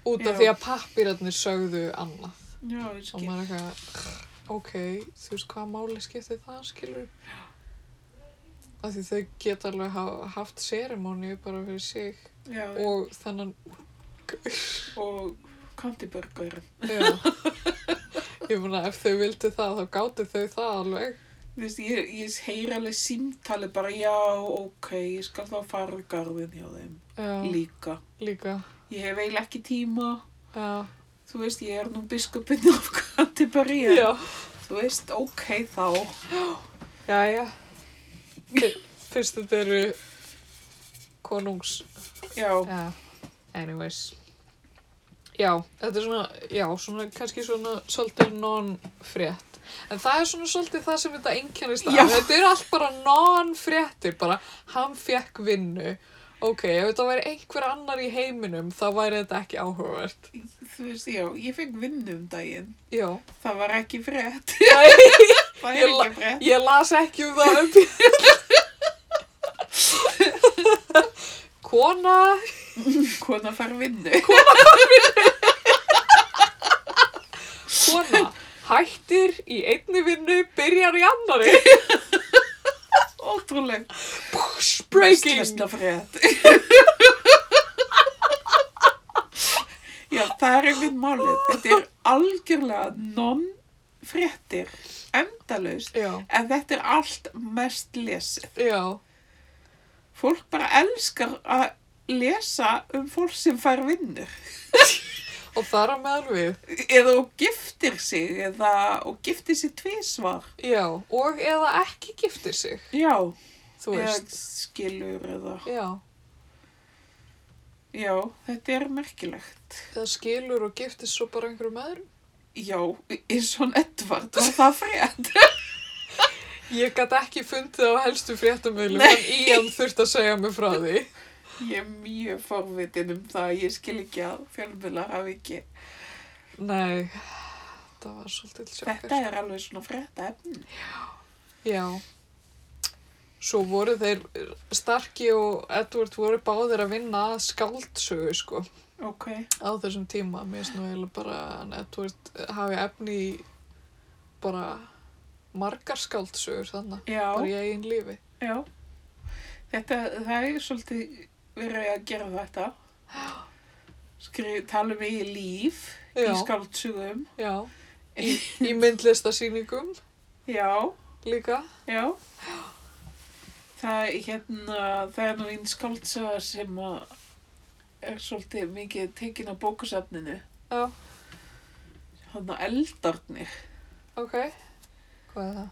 S1: út af
S2: Já.
S1: því að pappirarnir sögðu annað
S2: Já, ég
S1: og
S2: skil.
S1: maður er eitthvað ok, þú veist hvað máli skiptir það skilur af því þau geta alveg hafa, haft sérimóni bara fyrir sig
S2: Já,
S1: og þannan
S2: og Canterbury.
S1: já ég meina ef þau vildu það þá gáttu þau það alveg
S2: Þú veist, ég, ég heyr alveg símtali bara, já, ok, ég skal þá fara í garðin hjá þeim
S1: já,
S2: líka.
S1: líka
S2: Ég hef eiginlega ekki tíma,
S1: já,
S2: þú veist, ég er nú biskupinn af Canterbury. en
S1: já,
S2: Þú veist, ok, þá.
S1: já, já. Fy- fyrst þetta eru konungs
S2: Já,
S1: já, anyways Já, þetta er svona, já, svona, kannski svona svolítið non-frétt. En það er svona svolítið það sem þetta einkennist af.
S2: Já.
S1: Þetta er allt bara non-fréttir, bara hann fekk vinnu. Ok, ef þetta væri einhver annar í heiminum, þá væri þetta ekki áhugavert.
S2: þú veist, já, ég fekk vinnu um daginn.
S1: Já,
S2: Það var ekki frétt.
S1: Nei,
S2: Það
S1: Ég
S2: er
S1: la-
S2: ekki frétt.
S1: ég las ekki um það upp. Kona,
S2: Kona fær vinnu.
S1: kona, hættir í einni vinnu, byrjar í annari.
S2: Ótrúlega.
S1: Breaking.
S2: Slesta frétt. já, það er einhvern málið. Þetta er algjörlega non-fréttir. Endalaust.
S1: Já.
S2: En þetta er allt mest lesið.
S1: Já,
S2: Fólk bara elskar að lesa um fólk sem fær vinnur.
S1: og þar á meðal við.
S2: Eða og giftir sig, eða og giftir sig tvísvar.
S1: Já, og eða ekki giftir sig,
S2: Já,
S1: þú
S2: eða
S1: veist.
S2: skilur eða...
S1: Já,
S2: Já, þetta er merkilegt.
S1: eða skilur og giftir svo bara einhverjum öðrum.
S2: Já, er svona Edvard, var það frétt?
S1: Ég gat ekki fundið á helstu fréttamöðlum,
S2: Nei.
S1: en Ian þurfti að segja mig frá því.
S2: Ég er mjög forvitin um það, ég skil ekki að fjölmjölar hafi ekki.
S1: Nei, Þetta var svolítið sjokkar.
S2: Þetta er alveg svona frétta efni.
S1: Já. Svo voru þeir, Starki og Edward voru báðir að vinna að skáldsögu, sko,
S2: Ok.
S1: á þessum tíma. Mér finnst nú eiginlega bara að Edward hafi efni í bara margar skáldsögur þannig,
S2: Já,
S1: bara í eigin lífi.
S2: já. Þetta, það er svolítið verið að gera þetta. Skrið, tala um í líf,
S1: Já.
S2: í skáldsugum.
S1: Já. Í, í myndlistasýningum
S2: Já,
S1: líka.
S2: já. Það, er hérna, það er nú einn skáldsaga sem að er svolítið mikið tekin á bókusefninu.
S1: Já,
S2: Hann að eldarnir
S1: ok. Hvað er það?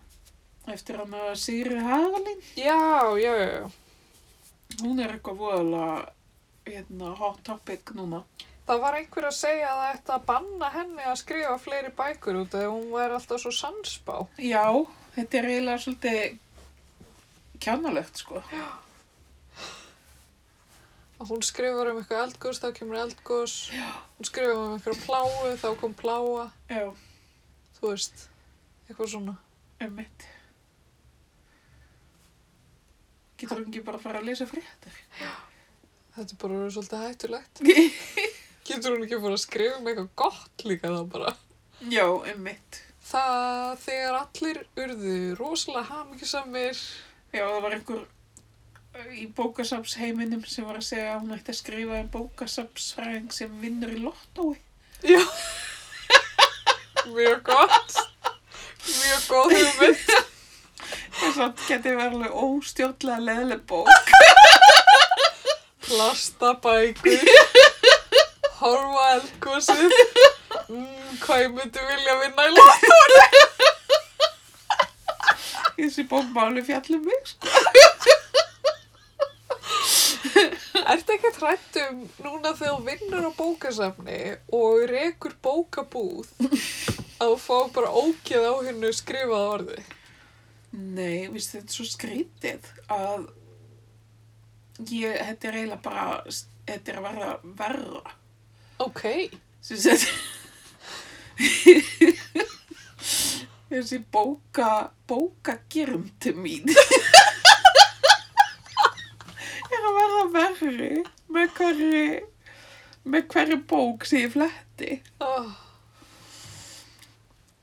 S2: eftir hann að Sigri Hagalín.
S1: Já, já, já, já.
S2: Hún er eitthvað voðalega hérna, hot topic núna.
S1: Það var einhver að segja að það ætti að banna henni að skrifa fleiri bækur út af því að hún væri alltaf svo sansbá.
S2: Já, þetta er eiginlega svolítið kjánalegt sko.
S1: Að hún skrifar um eitthvað eldgós, þá kemur eldgós. Já. Hún skrifar um eitthvað pláu, þá kom pláa.
S2: Já,
S1: Þú veist, eitthvað svona.
S2: um mitt. Getur hún ekki bara að fara að lesa fréttir?
S1: Þetta er bara orðið svolítið hættulegt. Getur hún ekki bara að skrifa um eitthvað gott líka þá bara.
S2: Já, um mitt.
S1: Það þegar allir urðu rosalega hamingisamir.
S2: Já, það var einhver eh, í bókasaps heiminum sem var að segja að hún ætti að skrifa um bókasapsfræðing sem vinnur í lottói.
S1: Já. Mjög gott. Mjög góð hugmynd.
S2: Þess að geti verið alveg óstjórnlega leðileg bók.
S1: plastabækur horfa á eldgosið mm, hvað ég myndi vilja vinna í lótt
S2: Þessi bók máli fjallum mig sko.
S1: Ertu ekki hrætt um núna þegar þú vinnur á bókasafni og rekur bókabúð að þú fá bara ógeð á hennu skrifað orði
S2: Nei, vissi þetta er svo skrítið að ég, þetta er eiginlega bara, þetta er að verða verra.
S1: Ok,
S2: sem sett þessi bóka bókagirnd mín er að verða verri með hverri með hverri bók sem ég fletti
S1: oh,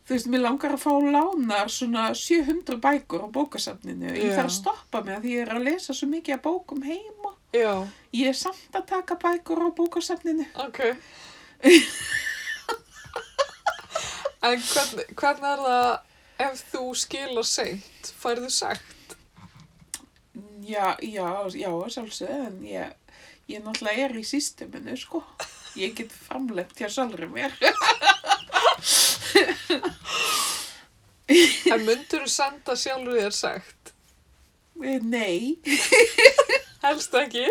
S2: þú veist, mér langar að fá lánar svona 700 bækur á bókasafninu ég
S1: Já.
S2: þarf að stoppa mig að því ég er að lesa svo mikið að bókum heima
S1: já,
S2: ég er samt að taka bækur á bókasafninu
S1: ok En hvernig, hvernig er það ef þú skilar seint, færðu sagt?
S2: Já, já, já, að sjálfsögðu, en ég, ég náttúrulega er í sísteminu, sko. Ég get framlemt hjá sjálfri mér.
S1: En myndur þú senda sjálfur þér sagt?
S2: Eh, Nei,
S1: Helst ekki?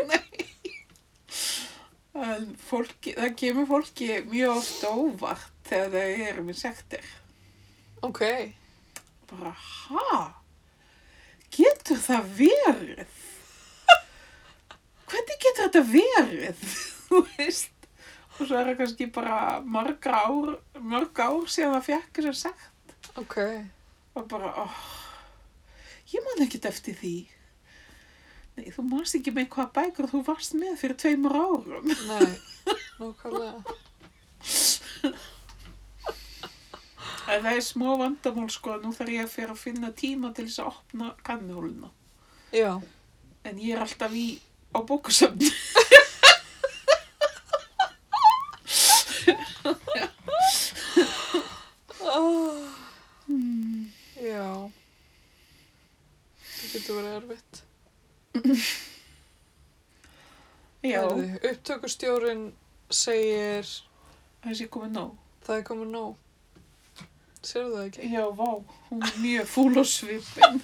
S2: en fólki, það kemur fólki mjög oft á óvart þegar þau eru með sektir.
S1: Ok,
S2: Bara, ha? Getur það verið? Hvernig getur þetta verið? Þú veist, og svo er það kannski bara mörg ár, mörg ár síðan það fjakk þess að sekt.
S1: ok.
S2: og bara, oh, ég man ekkert eftir því. Nei, þú manst ekki með hvaða bækur þú varst með fyrir tveimur árum.
S1: Nei, nákvæmlega.
S2: En það er smá vandamál sko að nú þarf ég að fyrir að finna tíma til þess að opna kannuhóluna.
S1: Já,
S2: En ég er alltaf í á bókusöfn.
S1: Ah. já. Það getur verið erfitt.
S2: Já,
S1: Heyrðu, upptökustjórinn segir
S2: þessi komið nóg.
S1: það er komið nóg. Sérðu það ekki?
S2: Já, vá, hún er mjög fúl á svipin.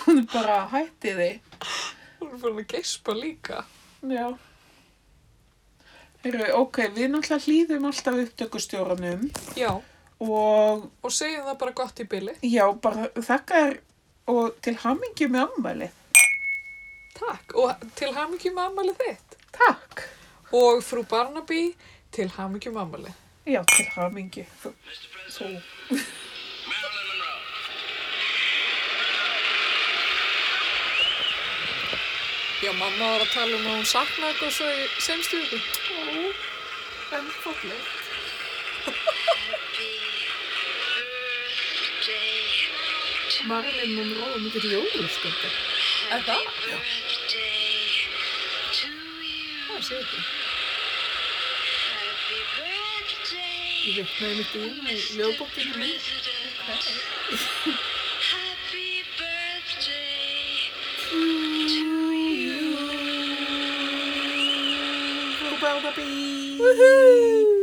S2: Hún er bara hættið þig.
S1: Hún er farin að geispa líka.
S2: Já. Heyrðu, ok, við náttúrulega hlýðum alltaf upptökustjóranum
S1: Já,
S2: og
S1: og segjum það bara gott í bili.
S2: Já, bara þakka þér og til hamingju með ammælið.
S1: Takk, og til hamingju með ammali þitt.
S2: Takk.
S1: Og frú Barnaby, til hamingju með ammali.
S2: Já, til hamingi. Þú, þú.
S3: Marilyn Monroe.
S1: Já, mamma var að tala um að hún saknaði eitthvað svo í semstu viku. Ó, en fólkleg. Marilyn Monroe er mikið ljóður, sko. Er það? Það sé ekki. Ég vitnaði mitt í hún í ljóðbókinu mín.
S2: Þú bæða bí.
S1: Woohoo!